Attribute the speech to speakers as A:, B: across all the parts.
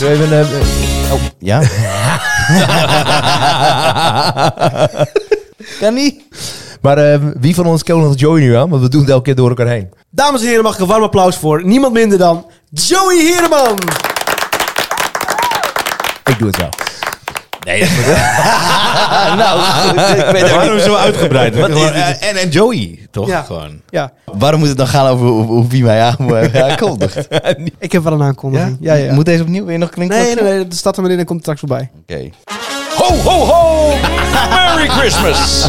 A: We hebben, eh, oh, ja. kan niet. Maar eh, wie van ons kan nog Joey nu aan? Want we doen het elke keer door elkaar heen.
B: Dames en heren, mag ik een warm applaus voor niemand minder dan Joey Heerman.
A: Ik doe het wel.
C: Nee, dat is
A: nou, ik weet
C: Waarom zo uitgebreid?
A: Wat is dit?
C: Eh, en, en Joey, toch?
B: Ja.
C: Gewoon.
B: Ja,
C: Waarom moet het dan gaan over hoe, hoe wie mij eh, aankondigt?
B: ik heb wel een aankondiging.
A: Ja, ja, ja.
C: Moet deze opnieuw weer nog klinken?
B: Nee, nee, nee, dat staat er maar in en komt straks voorbij.
C: Oké. Ho, ho, ho! Merry Christmas!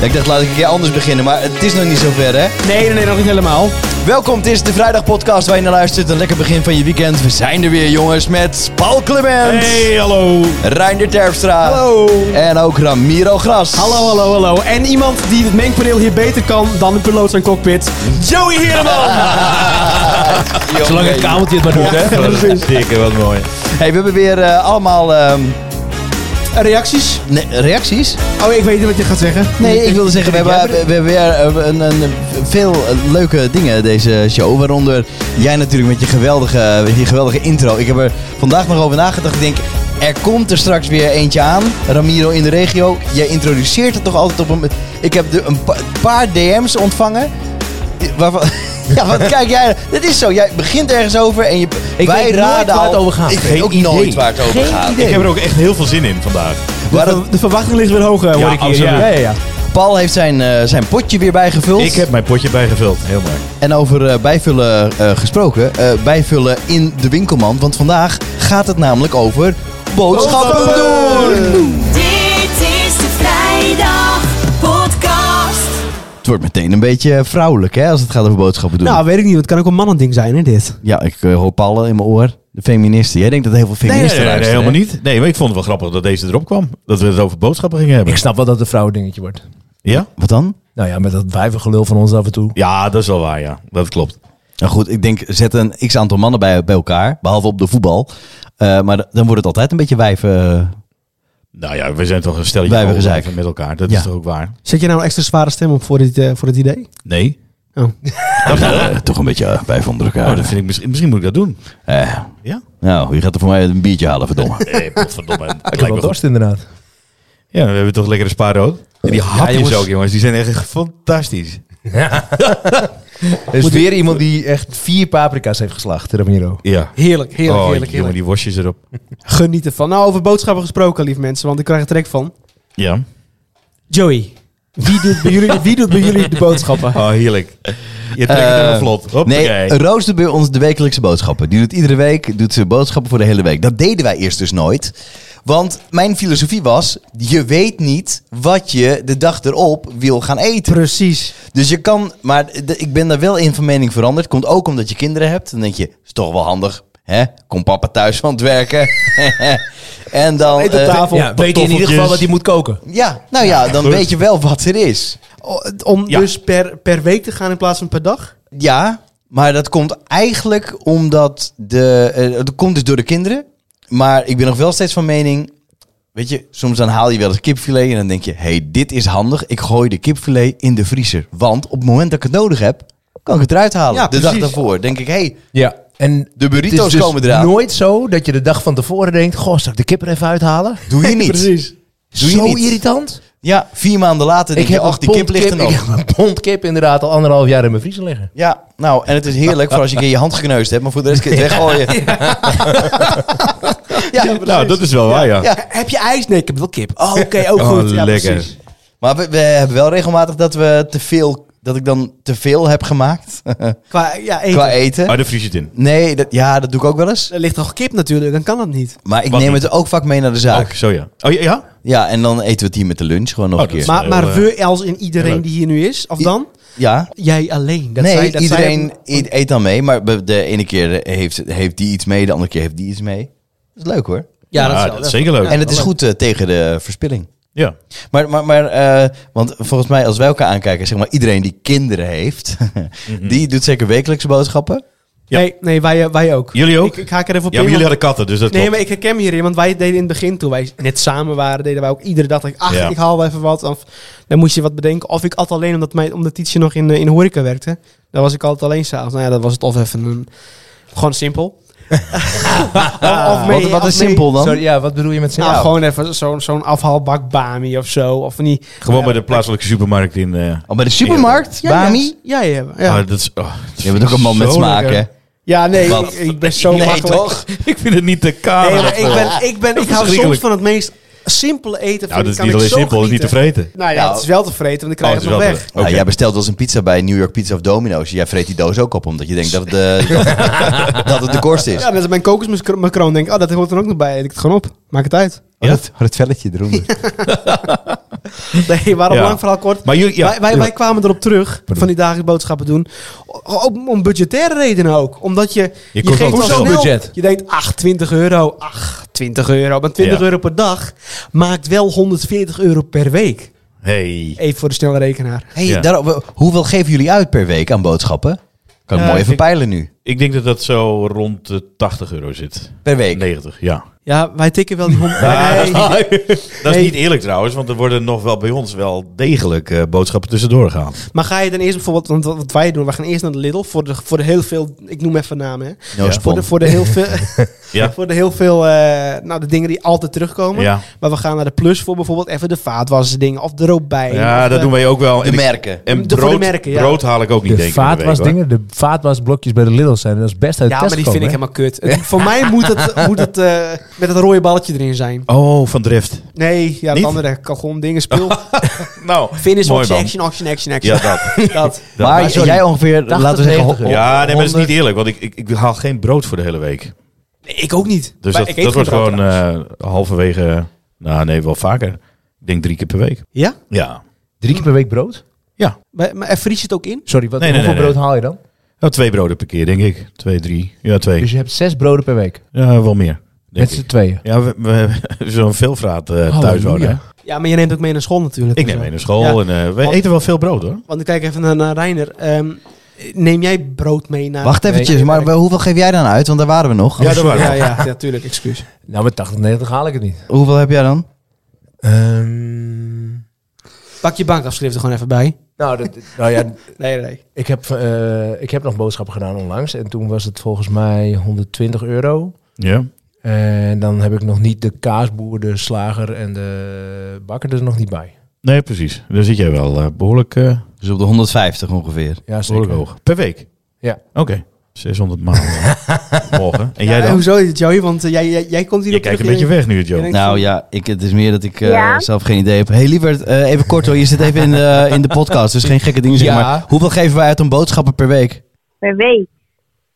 C: ik dacht, laat ik een keer anders beginnen, maar het is nog niet zover, hè?
B: Nee, nee, nee, nog niet helemaal.
C: Welkom, dit is de Vrijdagpodcast waar je naar luistert. Een lekker begin van je weekend. We zijn er weer, jongens, met Paul Clement.
D: Hey, hallo.
C: Reinder Terpstra.
B: Hallo.
C: En ook Ramiro Gras.
B: Hallo, hallo, hallo. En iemand die het mengpaneel hier beter kan dan de piloot zijn cockpit. Joey Heerman!
D: Zolang het kabeltje het maar doet, hè?
B: Ja, precies.
D: Dikke, wat mooi.
C: Hey, we hebben weer eh, allemaal ehm,
B: Reacties?
C: ne- reacties.
B: Oh, ik weet niet wat je gaat zeggen.
C: Nee, ik wilde zeggen, we hebben, we hebben weer eh, een, een, veel leuke dingen deze show. Waaronder jij natuurlijk met je geweldige, met je geweldige intro. Ik heb er vandaag nog over nagedacht. Ik denk, er komt er straks weer eentje aan. Ramiro in de regio. Jij introduceert het toch altijd op een... Ik heb de, een pa- paar DM's ontvangen. Waarvan... Ja, want kijk jij, dit is zo. Jij begint ergens over en je,
D: Ik
C: wij
D: weet nooit
C: raden
D: waar
C: al.
D: het over gaat.
C: Ik weet
D: Geen
C: ook
D: idee.
C: nooit waar het over gaat.
D: Ik heb er ook echt heel veel zin in vandaag.
C: Maar dat-
B: De, de verwachting ligt weer hoog, eh, hoor ik hier.
D: absoluut.
B: Ja, ja, ja.
C: Paul heeft zijn, eh, zijn potje weer bijgevuld.
D: Ik heb mijn potje bijgevuld. Heel mooi.
C: En over eh, bijvullen eh, gesproken, eh, bijvullen in de winkelmand. Want vandaag gaat het namelijk over boodschappen doen.
E: Dit is de vrijdag podcast.
C: Het wordt meteen een beetje vrouwelijk hè, als het gaat over boodschappen doen.
B: Nou, weet ik niet. Het kan ook een mannending zijn, hè, dit.
C: ja, ik eh, hoor Paul in mijn oor. De feministen. Jij denkt dat heel veel feministen luisteren,
D: helemaal
C: hè?
D: niet. Nee, maar ik vond het wel grappig dat deze erop kwam. Dat we het over boodschappen gingen hebben.
A: Ik snap wel dat het een vrouwendingetje wordt.
D: Ja?
C: Wat dan?
A: Nou ja, met dat wijvengelul van ons af en toe.
D: Ja, dat is wel waar, ja. Dat klopt.
C: Nou goed, ik denk zet een x-aantal mannen bij, bij elkaar. Behalve op de voetbal. Eh, maar d- dan wordt het altijd een beetje wijven.
D: Nou ja, we zijn toch een stelletje
C: Wij hebben
D: over-
C: gezeik.
D: met elkaar. Dat
C: Ja.
D: is toch ook waar?
B: Zet je nou een extra zware stem op voor dit, eh, voor dit idee?
D: Nee.
B: Oh.
D: Dat,
C: eh, toch een beetje bij wijven onder elkaar.
D: oh, dat vind ik, misschien, misschien moet ik dat doen.
C: Eh,
D: Ja?
C: nou, je gaat er voor mij een biertje halen, verdomme.
D: Nee, potverdomme. Het
A: Ik
D: lijkt
A: heb
D: me
A: wel
D: goed.
A: dorst inderdaad.
D: Ja, we hebben toch lekkere spaarrood. En die hapjes
C: jongens.
D: ook, jongens. Die zijn echt fantastisch.
A: Er is weer iemand die echt vier paprika's heeft geslacht, Ramiro.
D: Ja.
B: Heerlijk, heerlijk,
D: oh,
B: heerlijk,
D: jongen,
B: heerlijk.
D: die worstjes erop.
B: Geniet ervan. Nou, over boodschappen gesproken, lief mensen, want ik krijg er trek van.
D: Ja.
B: Joey, wie doet bij jullie, wie doet bij jullie de boodschappen?
D: Oh, heerlijk. Je trekt
C: Eh,
D: het helemaal vlot. Hoppakee.
C: Nee, Roos doet bij ons de wekelijkse boodschappen. Die doet iedere week doet ze boodschappen voor de hele week. Dat deden wij eerst dus nooit. Want mijn filosofie was, je weet niet wat je de dag erop wil gaan eten.
B: Precies.
C: Dus je kan, maar de- ik ben daar wel in van mening veranderd. Komt ook omdat je kinderen hebt. Dan denk je, is toch wel handig. Hè? Kom papa thuis van het werken. en dan...
B: Eet op
C: eh,
B: tafel.
A: Ja, weet je in ieder geval wat hij moet koken.
C: ja, nou ja, dan
D: goed.
C: weet je wel wat er is.
B: Om
D: Ja.
B: dus per, per week te gaan in plaats van per dag?
C: Ja, maar dat komt eigenlijk omdat de. eh, dat komt dus door de kinderen. Maar ik ben nog wel steeds van mening. Weet je, soms dan haal je wel eens kipfilet en dan denk je: hé, hey, dit is handig. Ik gooi de kipfilet in de vriezer. Want op het moment dat ik het nodig heb, kan ik het eruit halen.
B: Ja,
C: de dag
B: precies.
C: daarvoor denk ik: hé, hey,
A: Ja. En
C: de burrito's
A: het is dus
C: komen eraan.
A: nooit zo dat je de dag van tevoren denkt... Goh, zal ik de kip er even uithalen?
C: doe je niet. Doe je
A: zo
C: niet.
A: irritant.
C: Ja, vier maanden later denk
A: ik heb
C: je: ach,
A: een
C: die kip
A: pond
C: ligt er
A: kip, ik
C: nog.
A: heb een pond kip inderdaad al anderhalf jaar in mijn vriezer liggen.
C: Ja, nou, en het is heerlijk voor als je een keer je hand gekneusd hebt, maar voor de rest kun je het weggooien. ja,
D: nou, dat is wel waar, ja.
C: Ja.
B: Heb je ijs? Nee, ik heb wel kip. Oh, oké, ook
D: Oh,
B: goed. Ja,
D: lekker.
B: precies.
C: Maar we, we hebben wel regelmatig dat we te veel, dat ik dan te veel heb gemaakt
B: Qua, ja, eten. Oh.
C: qua eten.
D: Maar dan Oh, vries je het in.
C: Nee, dat, ja, dat doe ik ook wel eens.
B: Er ligt nog kip natuurlijk, dan kan dat niet.
C: Maar ik
D: Wat
C: neem
D: niet?
C: het ook vaak mee naar de zaak.
D: Ook, zo ja. Oh ja? ja?
C: Ja, en dan eten we het hier met de lunch gewoon nog
D: Oh,
C: een
D: dat
C: keer.
D: is-
B: Maar,
D: heel,
B: maar
D: eh,
B: we als in iedereen
D: leuk.
B: die hier nu is, of
C: I-
B: dan?
C: Ja.
B: Jij alleen. Dat
C: nee,
B: zei, dat zei-
C: iedereen i- eet dan mee. Maar be- de ene keer heeft, heeft die iets mee, de andere keer heeft die iets mee. Dat is leuk hoor.
B: ja, dat is,
D: Ja,
B: wel-
D: dat is zeker leuk.
C: en het is goed eh, tegen de verspilling.
D: Ja.
C: Maar, maar, maar eh, want volgens mij als wij elkaar aankijken, zeg maar iedereen die kinderen heeft,
B: Mhm.
C: die doet zeker wekelijkse boodschappen.
D: Ja.
B: Nee, nee wij, eh, wij ook.
D: Jullie ook?
B: Ik, ik haak er even op
D: Ja,
B: in,
D: maar jullie
B: want-
D: hadden katten, dus dat
B: Nee,
D: klopt.
B: maar ik herken me hierin, want wij deden in het begin, toen wij net samen waren, deden wij ook iedere dag, dacht ik, ach,
D: Ja.
B: ik haal wel even wat. Of dan moest je wat bedenken. Of ik at alleen, omdat, mijn, omdat Tietje nog in, eh, in de horeca werkte. Dan was ik altijd alleen s'avonds. Nou ja, dat was het of even een... Gewoon simpel. Of- of mee-
C: Wat, wat
B: of
C: is
B: mee-
C: simpel dan?
A: Sorry, ja, wat bedoel je met
C: Ah,
B: Nou,
A: simpel?
B: gewoon even zo'n zo'n afhaalbak Bami of zo. Of van die,
D: Gewoon bij de plaatselijke supermarkt in... eh,
C: Oh, bij de supermarkt?
B: Ja,
C: Bami?
B: Ja, ja, ja.
D: ah, dat is, oh, dat is
C: Je bent ook een man met
D: zo
C: smaak,
D: lekker.
C: hè?
B: ja nee, ik,
C: Wat?
B: ik ben zo
C: Nee,
B: makkelijk.
C: toch?
D: Ik vind het niet te kaal.
B: Nee, maar ik, ben, ik, ben, ik hou soms
D: Verschrikkelijk.
B: van het meest simpele eten. Vind
D: nou, dat
B: ik
D: is
B: kan
D: niet
B: ik
D: alleen
B: zo
D: simpel, dat is niet te
B: genieten.
D: vreten.
B: Nou ja,
C: Nou,
B: het is wel te vreten, want dan krijg
D: Oh, het
B: je
D: is
B: het nog
D: wel te
B: weg.
D: vreten.
C: Nou,
D: Oké.
C: jij bestelt wel eens een pizza bij New York Pizza of Domino's. Jij vreet die doos ook op, omdat je denkt dat het, eh, dat het de korst is.
B: Ja, net als mijn kokosmacroon denk ik, oh, dat hoort er ook nog bij. Eet ik het gewoon op. Maak het uit.
D: Ja.
C: Oh, dat, oh, dat velletje eronder.
B: Nee, waarom
D: Ja.
B: lang verhaal kort?
D: Maar jullie, ja,
B: wij, wij, wij kwamen erop terug van die dagelijks boodschappen doen. O- Ook om budgettaire redenen ook. Omdat je...
D: Je komt
B: geeft
D: wel
B: al
A: hoezo
B: snel-
A: budget?
B: Je denkt, ach, 20 euro. Ach, 20 euro. Maar 20
D: Ja.
B: euro per dag maakt wel 140 euro per week.
D: hey.
B: Even voor de snelle rekenaar.
C: Hey,
D: Ja.
C: daarop- hoeveel geven jullie uit per week aan boodschappen? Kan ik
D: Eh,
C: mooi even
D: ik-
C: peilen nu.
D: Ik denk dat dat zo rond de 80 euro zit.
C: Per week.
D: 90, ja.
B: Ja, wij tikken wel die 100
D: Dat
B: Nee.
D: is niet eerlijk trouwens, want er worden nog wel bij ons wel degelijk eh, boodschappen tussendoor gehaald.
B: Maar ga je dan eerst bijvoorbeeld, want wat wat wij doen, we gaan eerst naar de Lidl voor de, voor de heel veel, ik noem even namen, hè.
C: No
D: Ja.
B: Voor de,
C: spon.
B: voor de heel veel,
D: Ja.
B: voor de, heel veel eh, nou, de dingen die altijd terugkomen.
D: Ja,
B: Maar we gaan naar de plus voor bijvoorbeeld even de vaatwassen dingen of eh, de robijn.
D: ja dat doen wij ook wel.
C: De
D: En, ik-
C: merken.
D: en
B: De- voor de
D: brood,
B: merken, ja.
D: brood haal ik ook niet,
A: De
D: denk ik. in de week, hoor.
A: vaatwasdingen, de vaatwasblokjes bij de Lidl zijn, dat is best uit
B: Ja, maar
A: Tesco.
B: die vind ik
A: hè?
B: helemaal kut. Het- Voor mij moet het, moet het eh, met het rode balletje erin zijn.
D: Oh, van Drift.
B: Nee, ja, het
D: Niet?
B: andere kalgon dingen speel.
D: Nou,
B: Finish,
D: mooi
B: action,
D: man.
B: action, action, action,
D: Ja, dat.
B: dat.
D: Dat-
C: maar
D: maar
A: sorry.
C: jij ongeveer,
A: 80,
C: laten we zeggen,
A: 90
C: ho-
A: euro.
D: Ja, nee, maar dat is niet eerlijk, want ik, ik, ik haal geen brood voor de hele week.
B: Nee, ik ook niet.
D: Dus
B: Maar
D: dat,
B: ik eet
D: dat wordt
B: geen brood
D: gewoon
B: trouwens.
D: eh, halverwege, eh, nou nee, wel vaker. Ik denk drie keer per week.
B: Ja?
D: Ja.
A: Drie keer per week brood?
B: Maar, maar er vries het ook in?
A: Sorry, wat,
D: Nee, nee,
A: hoeveel
D: nee,
A: brood haal je dan?
D: Nou, twee broden per keer, denk ik. Twee, drie. Ja, twee.
A: Dus je hebt zes broden per week,
D: Ja, wel meer. Denk
A: met
D: ik.
A: z'n tweeën.
D: Ja, we, we hebben zo'n veelvraat eh thuis wonen. hè.
B: Ja, maar je neemt ook mee naar school natuurlijk.
D: Ik
B: en
D: neem
B: zo.
D: mee naar school
B: Ja.
D: en eh, wij
B: Want-
D: eten wel veel brood hoor.
B: Want ik kijk even naar, naar Reiner. Ehm, neem jij brood mee naar...
C: Wacht eventjes,
B: Nee,
C: maar wel- hoeveel geef jij dan uit? Want daar waren we nog.
D: Ja, dat waren we.
B: Ja, ja, ja, tuurlijk, excuus.
A: Nou, met 80, 90 haal ik het niet.
C: Hoeveel heb jij dan?
A: Ehm,
B: Pak je bankafschrift er gewoon even bij.
A: nou, dat, nou ja,
B: Nee, nee, nee.
A: ik heb, eh, ik heb nog boodschappen gedaan onlangs. En toen was het volgens mij 120 euro.
D: Ja.
A: En dan heb ik nog niet de kaasboer, de slager en de bakker er nog niet bij.
D: Nee, precies. Daar zit jij wel eh, behoorlijk, eh,
C: Dus op de 150 ongeveer.
A: Ja,
D: behoorlijk hoog. Per week?
A: Ja.
D: Oké. 600 maal eh, morgen. En jij
B: Ja,
D: dan?
B: Hoezo is het, Joey? Want eh, jij, jij, jij komt hier
D: Je
B: op
D: kijkt een
B: terug,
D: beetje weg nu, Joe.
B: Ik
C: Nou
B: vond-
C: ja, ik, het is meer dat ik eh,
F: Ja?
C: zelf geen idee heb. hey, lieverd, eh, even kort hoor. Je zit even in de, in de podcast, dus geen gekke dingen zeggen.
A: Ja.
C: Maar hoeveel geven wij uit aan boodschappen per week?
F: Per week.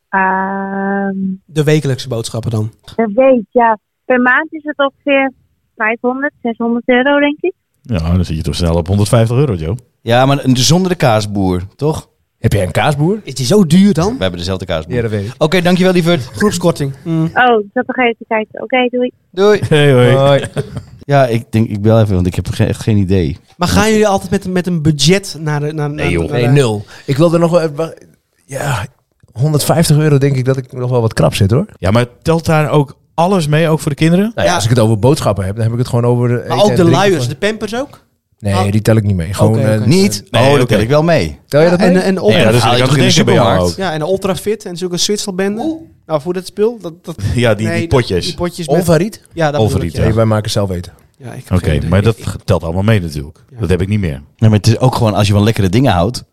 F: Ehm,
B: De wekelijkse boodschappen dan.
F: per week, ja. Per maand is het ongeveer 500, 600 euro, denk ik.
D: Ja, dan zit je toch snel op 150 euro, Joe.
C: Ja, maar zonder de kaasboer, toch?
A: Heb jij een kaasboer?
B: Is die zo duur dan?
C: We hebben dezelfde kaasboer.
A: weet ik.
C: Oké, dankjewel lieverd.
B: Groepskorting. Mm.
F: Oh, ik zat nog even te kijken. Oké, doei.
C: Doei.
D: Hey, hoi.
B: Eh,
C: Ja, ik denk, ik bel even, want ik heb ge- echt geen idee.
B: Maar gaan jullie altijd met, een- met een budget naar de... Naar, nee
D: joh.
A: Nee, nul. Ik wilde nog wel... eh, wa- Ja, 150 euro denk ik dat ik nog wel wat krap zit hoor.
D: Ja, maar telt daar ook alles mee, ook voor de kinderen?
A: Nou ja,
B: Ja.
A: als ik het over boodschappen heb, dan heb ik het gewoon over... De eten
B: Maar ook
A: en
B: de
A: drinken
B: luiers,
A: van-
B: de pampers ook?
A: Nee, die tel ik niet mee. Gewoon,
B: Oké,
A: eh,
B: oké.
C: Niet?
D: Nee,
C: oh, dat
D: oké.
C: tel ik wel mee.
A: Tel jij dat mee?
B: En, eh, en de
D: Ja,
B: ultra,
D: dat is
C: haal je
D: ik aan
C: toch
D: het
C: in de
D: denken bij jou
C: supermarkt?
D: ook.
B: ja, en de ultrafit en zulke Zwitserbende. Nou, voor dat spul. Dat, dat,
D: Ja, die,
B: nee,
D: die potjes.
B: Die potjes met...
A: Olvariet?
B: ja, dat bedoel ik,
D: Olvariet,
B: ja.
D: ja.
A: Nee, wij maken zelf eten.
B: Ja, ik heb
D: Oké,
B: geen idee.
D: maar dat telt allemaal mee natuurlijk.
B: Ja.
D: Dat heb ik niet meer.
C: Nee, maar het is ook gewoon, als je van lekkere dingen houdt,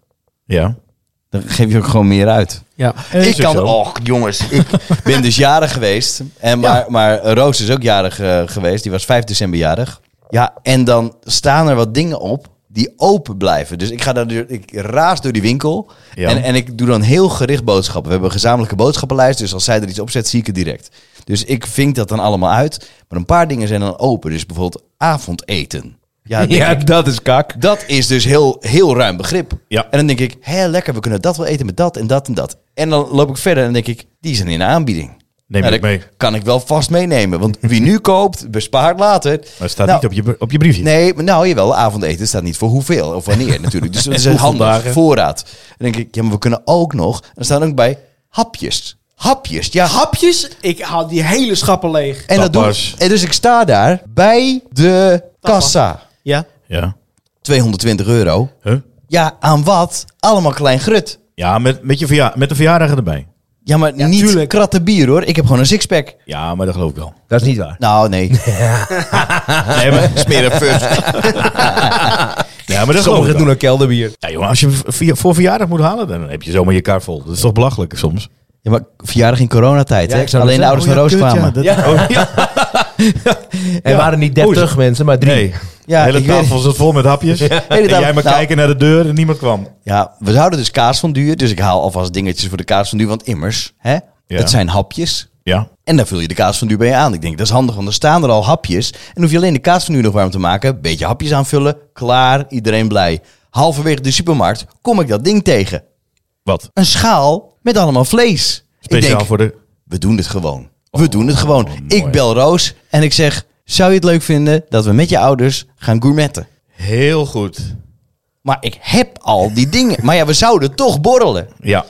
D: Ja.
C: dan geef je ook gewoon meer uit.
B: Ja.
D: is
C: ik
D: ook
C: kan,
D: zo.
C: och jongens, ik ben dus jarig geweest. En maar, maar Roos is ook jarig eh, geweest. Die was 5 december jarig. Ja, en dan staan er wat dingen op die open blijven. Dus ik ga daar, door- ik raas door die winkel.
D: Ja.
C: En, en ik doe dan heel gericht boodschappen. We hebben een gezamenlijke boodschappenlijst. Dus als zij er iets opzet, zie ik het direct. Dus ik vink dat dan allemaal uit. Maar een paar dingen zijn dan open. Dus bijvoorbeeld avondeten. Ja, denk ik,
A: dat is kak.
C: dat is dus heel, heel ruim begrip.
D: Ja.
C: En dan denk ik, hé, lekker, we kunnen dat wel eten met dat en dat en dat. En dan loop ik verder en denk ik, die zijn in de aanbieding.
D: Neem
C: Nou,
D: ik
C: dat
D: mee.
C: Kan ik wel vast meenemen. Want wie nu koopt, bespaart later.
D: Maar het staat
C: Nou,
D: niet op je, br- op je briefje.
C: Nee, maar nou jawel, avondeten staat niet voor hoeveel of wanneer natuurlijk. Dus dat is een
D: Hoeveel
C: handig
D: dagen?
C: voorraad. Dan denk ik, ja, maar we kunnen ook nog. En er staan ook bij hapjes. Hapjes, ja, hap.
B: Hapjes? Ik haal die hele schappen leeg.
C: En, dat doe ik.
D: Tapas.
C: en dus ik sta daar bij de kassa.
B: Ja.
D: Ja.
C: 220 euro.
D: Huh?
C: Ja, aan wat? Allemaal klein grut.
D: Ja, met, met, je verja met de verjaardagen erbij.
C: Ja, maar niet
B: tuurlijk.
C: kratten bier hoor. Ik heb gewoon een sixpack.
D: Ja, maar dat geloof ik wel.
A: Dat is niet waar.
C: Nou, nee.
D: Nee, maar smeren first. ja, maar dat geloof ik
A: Sommigen
D: wel.
A: doen ook kelderbier.
D: Ja, jongen, als je via- voor verjaardag moet halen, dan heb je zomaar je kaart vol. Dat is toch belachelijk soms?
C: Ja, maar verjaardag in coronatijd,
A: Ja,
C: hè?
A: ik zou
C: Alleen de
A: net
C: ouders van
A: zeggen,
C: Roos kwamen.
D: Kut, ja, dat- Oh, ja.
A: Er
D: Ja.
A: waren niet
D: Oh,
A: 30 mensen, maar drie.
D: Nee.
C: Ja,
D: de hele
C: ik weet-
D: tafel zat vol met hapjes. En
C: tafel-
D: jij maar
C: Nou.
D: kijken naar de deur en niemand kwam.
C: Ja, we zouden dus kaas van duur. Dus ik haal alvast dingetjes voor de kaas van duur. Want immers, hè? het zijn hapjes.
D: Ja.
C: En daar vul je de kaas van duur bij aan. Ik denk, dat is handig, want er staan er al hapjes. En hoef je alleen de kaas van duur nog warm te maken. Een beetje hapjes aanvullen. Klaar, iedereen blij. Halverwege de supermarkt kom ik dat ding tegen.
D: Wat?
C: Een schaal met allemaal vlees. ik
D: Speciaal
C: denk,
D: voor de...
C: we doen het gewoon. We doen het gewoon.
D: Oh, mooi.
C: ik bel Roos en ik zeg, zou je het leuk vinden dat we met je ouders gaan gourmetten?
D: Heel goed.
C: Maar ik heb al die dingen. Maar ja, we zouden toch borrelen.
D: Ja.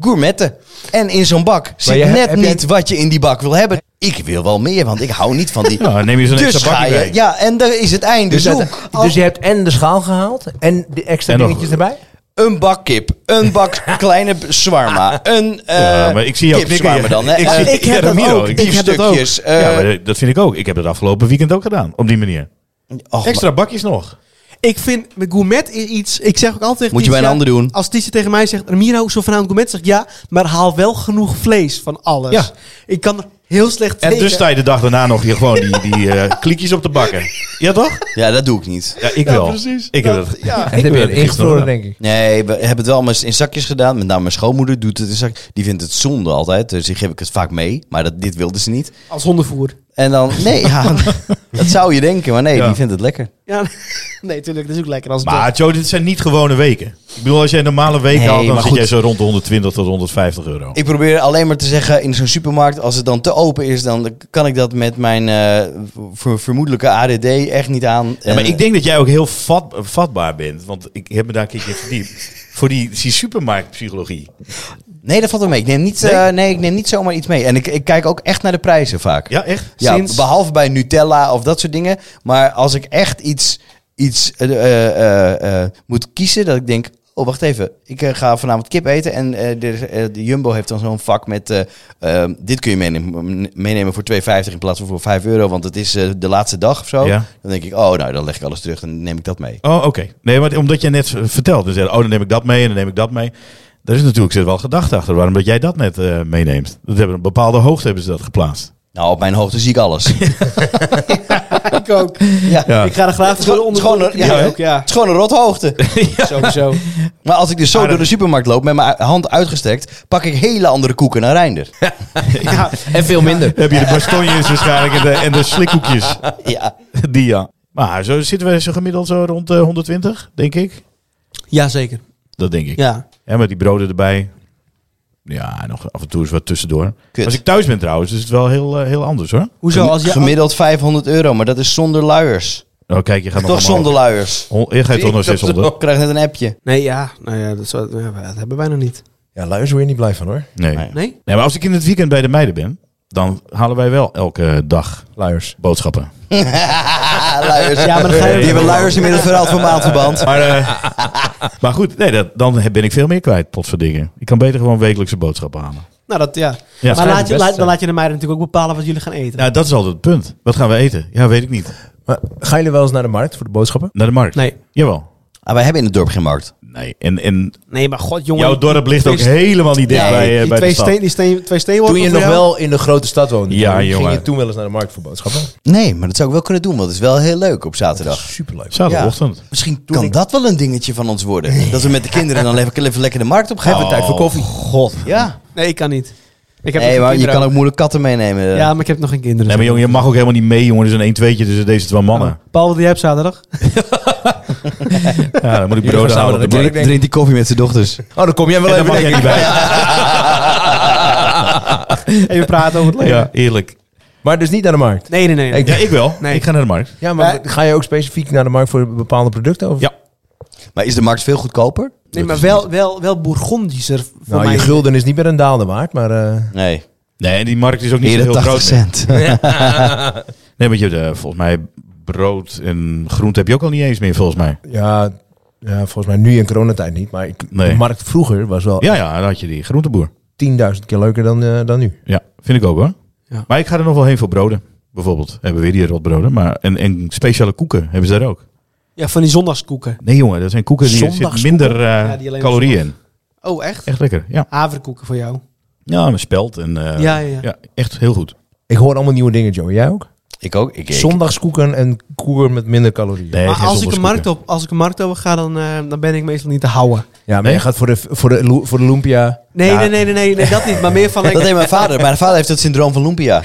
C: gourmetten. En in zo'n bak zit
A: je-
C: net
A: heb jij-
C: niet wat je in die bak wil hebben. Ik wil wel meer, want ik hou niet van die...
D: Nou, dan neem je zo'n
C: dus
D: extra
C: ga
D: bakje
C: je...
D: mee.
C: Ja, en daar is het einde
A: Dus,
C: zoek.
A: dat-
C: Al
A: dus je hebt en de schaal gehaald en de extra
D: En nog-
A: dingetjes erbij?
C: Een bak kip, een bak kleine zwarma, een eh
D: Ja, maar ik zie jou
C: kip shawarma
D: knikken.
C: dan. Hè?
D: Ik
C: Eh,
D: zie- Ik heb dat Ramiro, ook. ik-
C: die
D: ik
B: heb dat ook.
C: stukjes. eh,
D: ja, maar dat vind ik ook. Ik heb dat afgelopen weekend ook gedaan. Op die manier.
C: och,
D: Extra bakjes nog.
B: Ik vind met gourmet is iets. Ik zeg ook altijd. tegen
C: Moet je bij een
B: Tisha,
C: ander doen.
B: Als Tisha tegen mij zegt: Ramiro, zo vanavond gourmet. Zeg ik, ja, maar haal wel genoeg vlees van alles.
D: Ja.
B: Ik kan er heel slecht tegen.
D: En dus sta je de dag daarna nog hier gewoon die, die eh, kliekjes op te bakken. Ja, toch?
C: ja, dat doe ik niet.
D: Ja, ik wel.
B: precies.
D: Ik heb dat.
A: Ja, ik heb
D: heb
A: je
D: het
A: ingevroren,
D: gisteren
A: denk ik.
C: Nee, we hebben het wel maar in zakjes gedaan. Met name mijn schoonmoeder doet het in zakjes. Die vindt het zonde altijd, dus die geef ik het vaak mee. Maar dat, dit wilde ze niet.
B: Als hondenvoer.
C: En dan, nee, ja, dat zou je denken. Maar nee,
D: Ja.
C: die vindt het lekker.
B: Ja, nee, tuurlijk. Dat is ook lekker. Als het
D: Maar Joe, dit zijn niet gewone weken. Ik bedoel, als jij normale weken
C: Nee,
D: had, dan
C: maar
D: zit
C: goed.
D: jij zo rond de 120 tot 150 euro.
C: Ik probeer alleen maar te zeggen, in zo'n supermarkt, als het dan te open is, dan kan ik dat met mijn eh, ver- vermoedelijke ADD echt niet aan.
D: Ja, maar
C: Eh,
D: ik denk dat jij ook heel vat, vatbaar bent. Want ik heb me daar een keertje in verdiept. Voor die, die supermarktpsychologie.
C: eh, Nee, dat valt wel mee. Ik neem niet, eh, nee, ik neem niet zomaar iets mee. En ik, ik kijk ook echt naar de prijzen vaak.
D: Ja, echt?
C: Ja,
B: Sinds-
C: behalve bij Nutella of dat soort dingen. Maar als ik echt iets, iets eh, eh, eh, eh, moet kiezen, dat ik denk... Oh, wacht even. Ik eh, ga vanavond kip eten. En eh, de, eh, de Jumbo heeft dan zo'n vak met... eh, eh, dit kun je meenemen, meenemen voor 2,50 in plaats van voor 5 euro. Want het is eh, de laatste dag of zo.
D: Ja.
C: Dan denk ik, oh, nou, dan leg ik alles terug. Dan neem ik dat mee.
D: Oh, oké. Nee, maar omdat jij net v- vertelt. Dus, eh, oh, dan neem ik dat mee en dan neem ik dat mee. Daar is natuurlijk zit wel gedacht achter. Waarom dat jij dat net eh, meeneemt. Dat hebben, op een bepaalde hoogte hebben ze dat geplaatst.
C: Nou, op mijn hoogte zie ik alles.
B: ik ook.
C: ja.
D: Ja.
B: Ik ga er graag
C: Het is gewoon- het is gewoon een-
B: onder.
C: ja, hè?
B: ook, ja.
C: Het is gewoon een rothoogte.
B: Sowieso.
C: Maar als ik dus zo
D: Ah, dat-
C: door de supermarkt loop met mijn hand uitgestrekt, pak ik hele andere koeken dan Reinder.
A: En veel minder.
D: Dan heb je de bastonjes waarschijnlijk en de, en de slikhoekjes.
C: ja.
D: Die ja. Maar zo zitten we zo gemiddeld zo rond eh, 120, denk ik.
B: Ja, zeker.
D: Dat denk ik.
B: Ja.
D: Ja, met die broden erbij. Ja, nog af en toe eens wat tussendoor.
C: Kut.
D: Als ik thuis ben trouwens, is het wel heel, eh, heel anders hoor.
B: Hoezo? Als je,
C: Gemiddeld 500 euro, maar dat is zonder luiers.
D: Nou, kijk, je gaat nog
C: Toch zonder luiers.
D: zonder. Je gaat toch nog 600?
C: Ik krijg net een appje.
B: Nee, ja. Nou ja, dat, zou- ja, dat hebben wij nog niet.
A: Ja, luister weer niet blij van hoor.
D: Nee.
C: Nee.
D: nee.
B: Nee?
D: maar als ik in het weekend bij de meiden ben, dan halen wij wel elke dag
A: Luiers.
D: boodschappen.
C: luiers.
B: Ja, maar dan ga je-
C: Die hebben luiers inmiddels verhaald voor maandverband.
D: Maar, eh, maar goed, nee, dat, dan ben ik veel meer kwijt, potverdingen. Ik kan beter gewoon wekelijkse boodschappen halen.
B: Nou, dat ja.
D: Ja,
B: maar laat
A: het
B: je,
A: best
B: laat, dan
A: zijn.
B: laat je de meiden natuurlijk ook bepalen wat jullie gaan eten.
D: Nou, dat is altijd het punt. Wat gaan we eten? Ja, weet ik niet.
A: Maar gaan jullie wel eens naar de markt voor de boodschappen?
D: Naar de markt?
B: Nee.
D: Jawel.
C: Ah, wij hebben in het dorp geen markt.
D: Nee, en, en
B: Nee, maar god, jongen.
D: jouw dorp ligt ook helemaal niet dicht
B: Ja,
D: bij, eh,
B: die
D: bij
B: twee
D: de stad.
B: Steen, die steen, twee steenworpen
A: Toen je
B: voor
A: nog
B: jou?
A: wel in de grote stad woonde,
D: Ja,
A: toen ging
D: jongen.
A: je toen wel eens naar de markt voor boodschappen?
C: Nee, maar dat zou ik wel kunnen doen, want het is wel heel leuk op zaterdag.
A: Superleuk.
D: Zaterdagochtend.
C: Misschien kan dat wel een dingetje van ons worden. Dat we met de kinderen dan even, even lekker de markt op gaan.
A: Hebben we tijd voor koffie?
D: Oh, God.
C: Ja.
B: Nee, Oh. ik kan niet. Ik heb nog
C: Nee,
B: geen
C: maar je
B: kinderen
C: kan ook moeilijk katten meenemen.
B: Ja, maar ik heb nog geen kinderen.
D: Nee, maar jongen, je mag ook helemaal niet mee, jongen. Er is een 1 tweetje tussen deze twee mannen.
B: Oh, Paul, wat jij hebt zaterdag?
D: Ja, dan moet ik
A: Jullie gaan
D: brood
A: samen
D: halen.
A: naar
D: op de
A: de markt.
D: markt.
C: Drink, drink die koffie met zijn dochters.
A: Oh, dan kom jij wel
D: En dan
A: even
D: mag jij
A: lekker.
D: niet bij.
B: Even praten over het leven.
D: Ja, eerlijk.
A: Maar dus niet naar de markt. Eh,
B: Nee, nee, nee. nee.
A: Ik-
D: Ja, ik wel.
B: Nee.
D: Ik ga naar de markt.
A: Ja, maar ga je ook specifiek naar de markt voor bepaalde producten? Of?
D: Ja.
C: Maar is de markt veel goedkoper?
B: nee, maar wel, wel, wel Bourgondischer voor
A: Nou,
B: mij.
A: je gulden is niet meer een daalde waard, maar... eh,
C: Nee.
D: Nee, en die markt is ook niet zo
C: Meer
D: heel
C: dan 80
D: groot. Nee,
C: cent.
D: Nee, want je hebt eh, volgens mij brood en groente heb je ook al niet eens meer, volgens mij.
A: ja, ja, volgens mij nu in coronatijd niet, maar ik,
D: Nee.
A: de markt vroeger was wel...
B: Oh.
D: Ja, ja, dan had je die groenteboer.
A: 10.000 keer leuker dan, eh, dan nu.
D: Ja, vind ik ook hoor.
B: Ja.
D: Maar ik ga er nog wel heen voor broden. Bijvoorbeeld hebben we weer die rotbroden. Maar, en, en speciale koeken hebben ze daar ook.
B: Ja, van die zondagskoeken.
D: Nee jongen, dat zijn koeken die er zit
B: Zondagskoeken?
D: minder eh,
B: Ja, die alleen op
D: calorieën in.
B: Oh, echt?
D: Echt lekker, ja.
B: Haverkoeken voor jou.
D: Ja, met spelt en eh,
B: Ja, ja, ja.
D: echt heel goed.
A: Ik hoor allemaal nieuwe dingen, Joey. Jij ook?
C: Ik ook. Ik, ik-
A: Zondagskoeken en koer met minder calorieën.
D: Nee,
B: maar
D: geen
B: als ik, een
D: zondagsboeken.
B: markt op, als ik een markt over ga, dan, eh, dan ben ik meestal niet te houden.
A: Ja, maar
D: Nee?
A: je gaat voor de, voor de, lo- voor de lumpia.
B: Nee, nee, nee, nee, nee, nee, dat niet. Maar meer van...
C: Dat deed mijn vader. Mijn vader heeft het syndroom van Lumpia.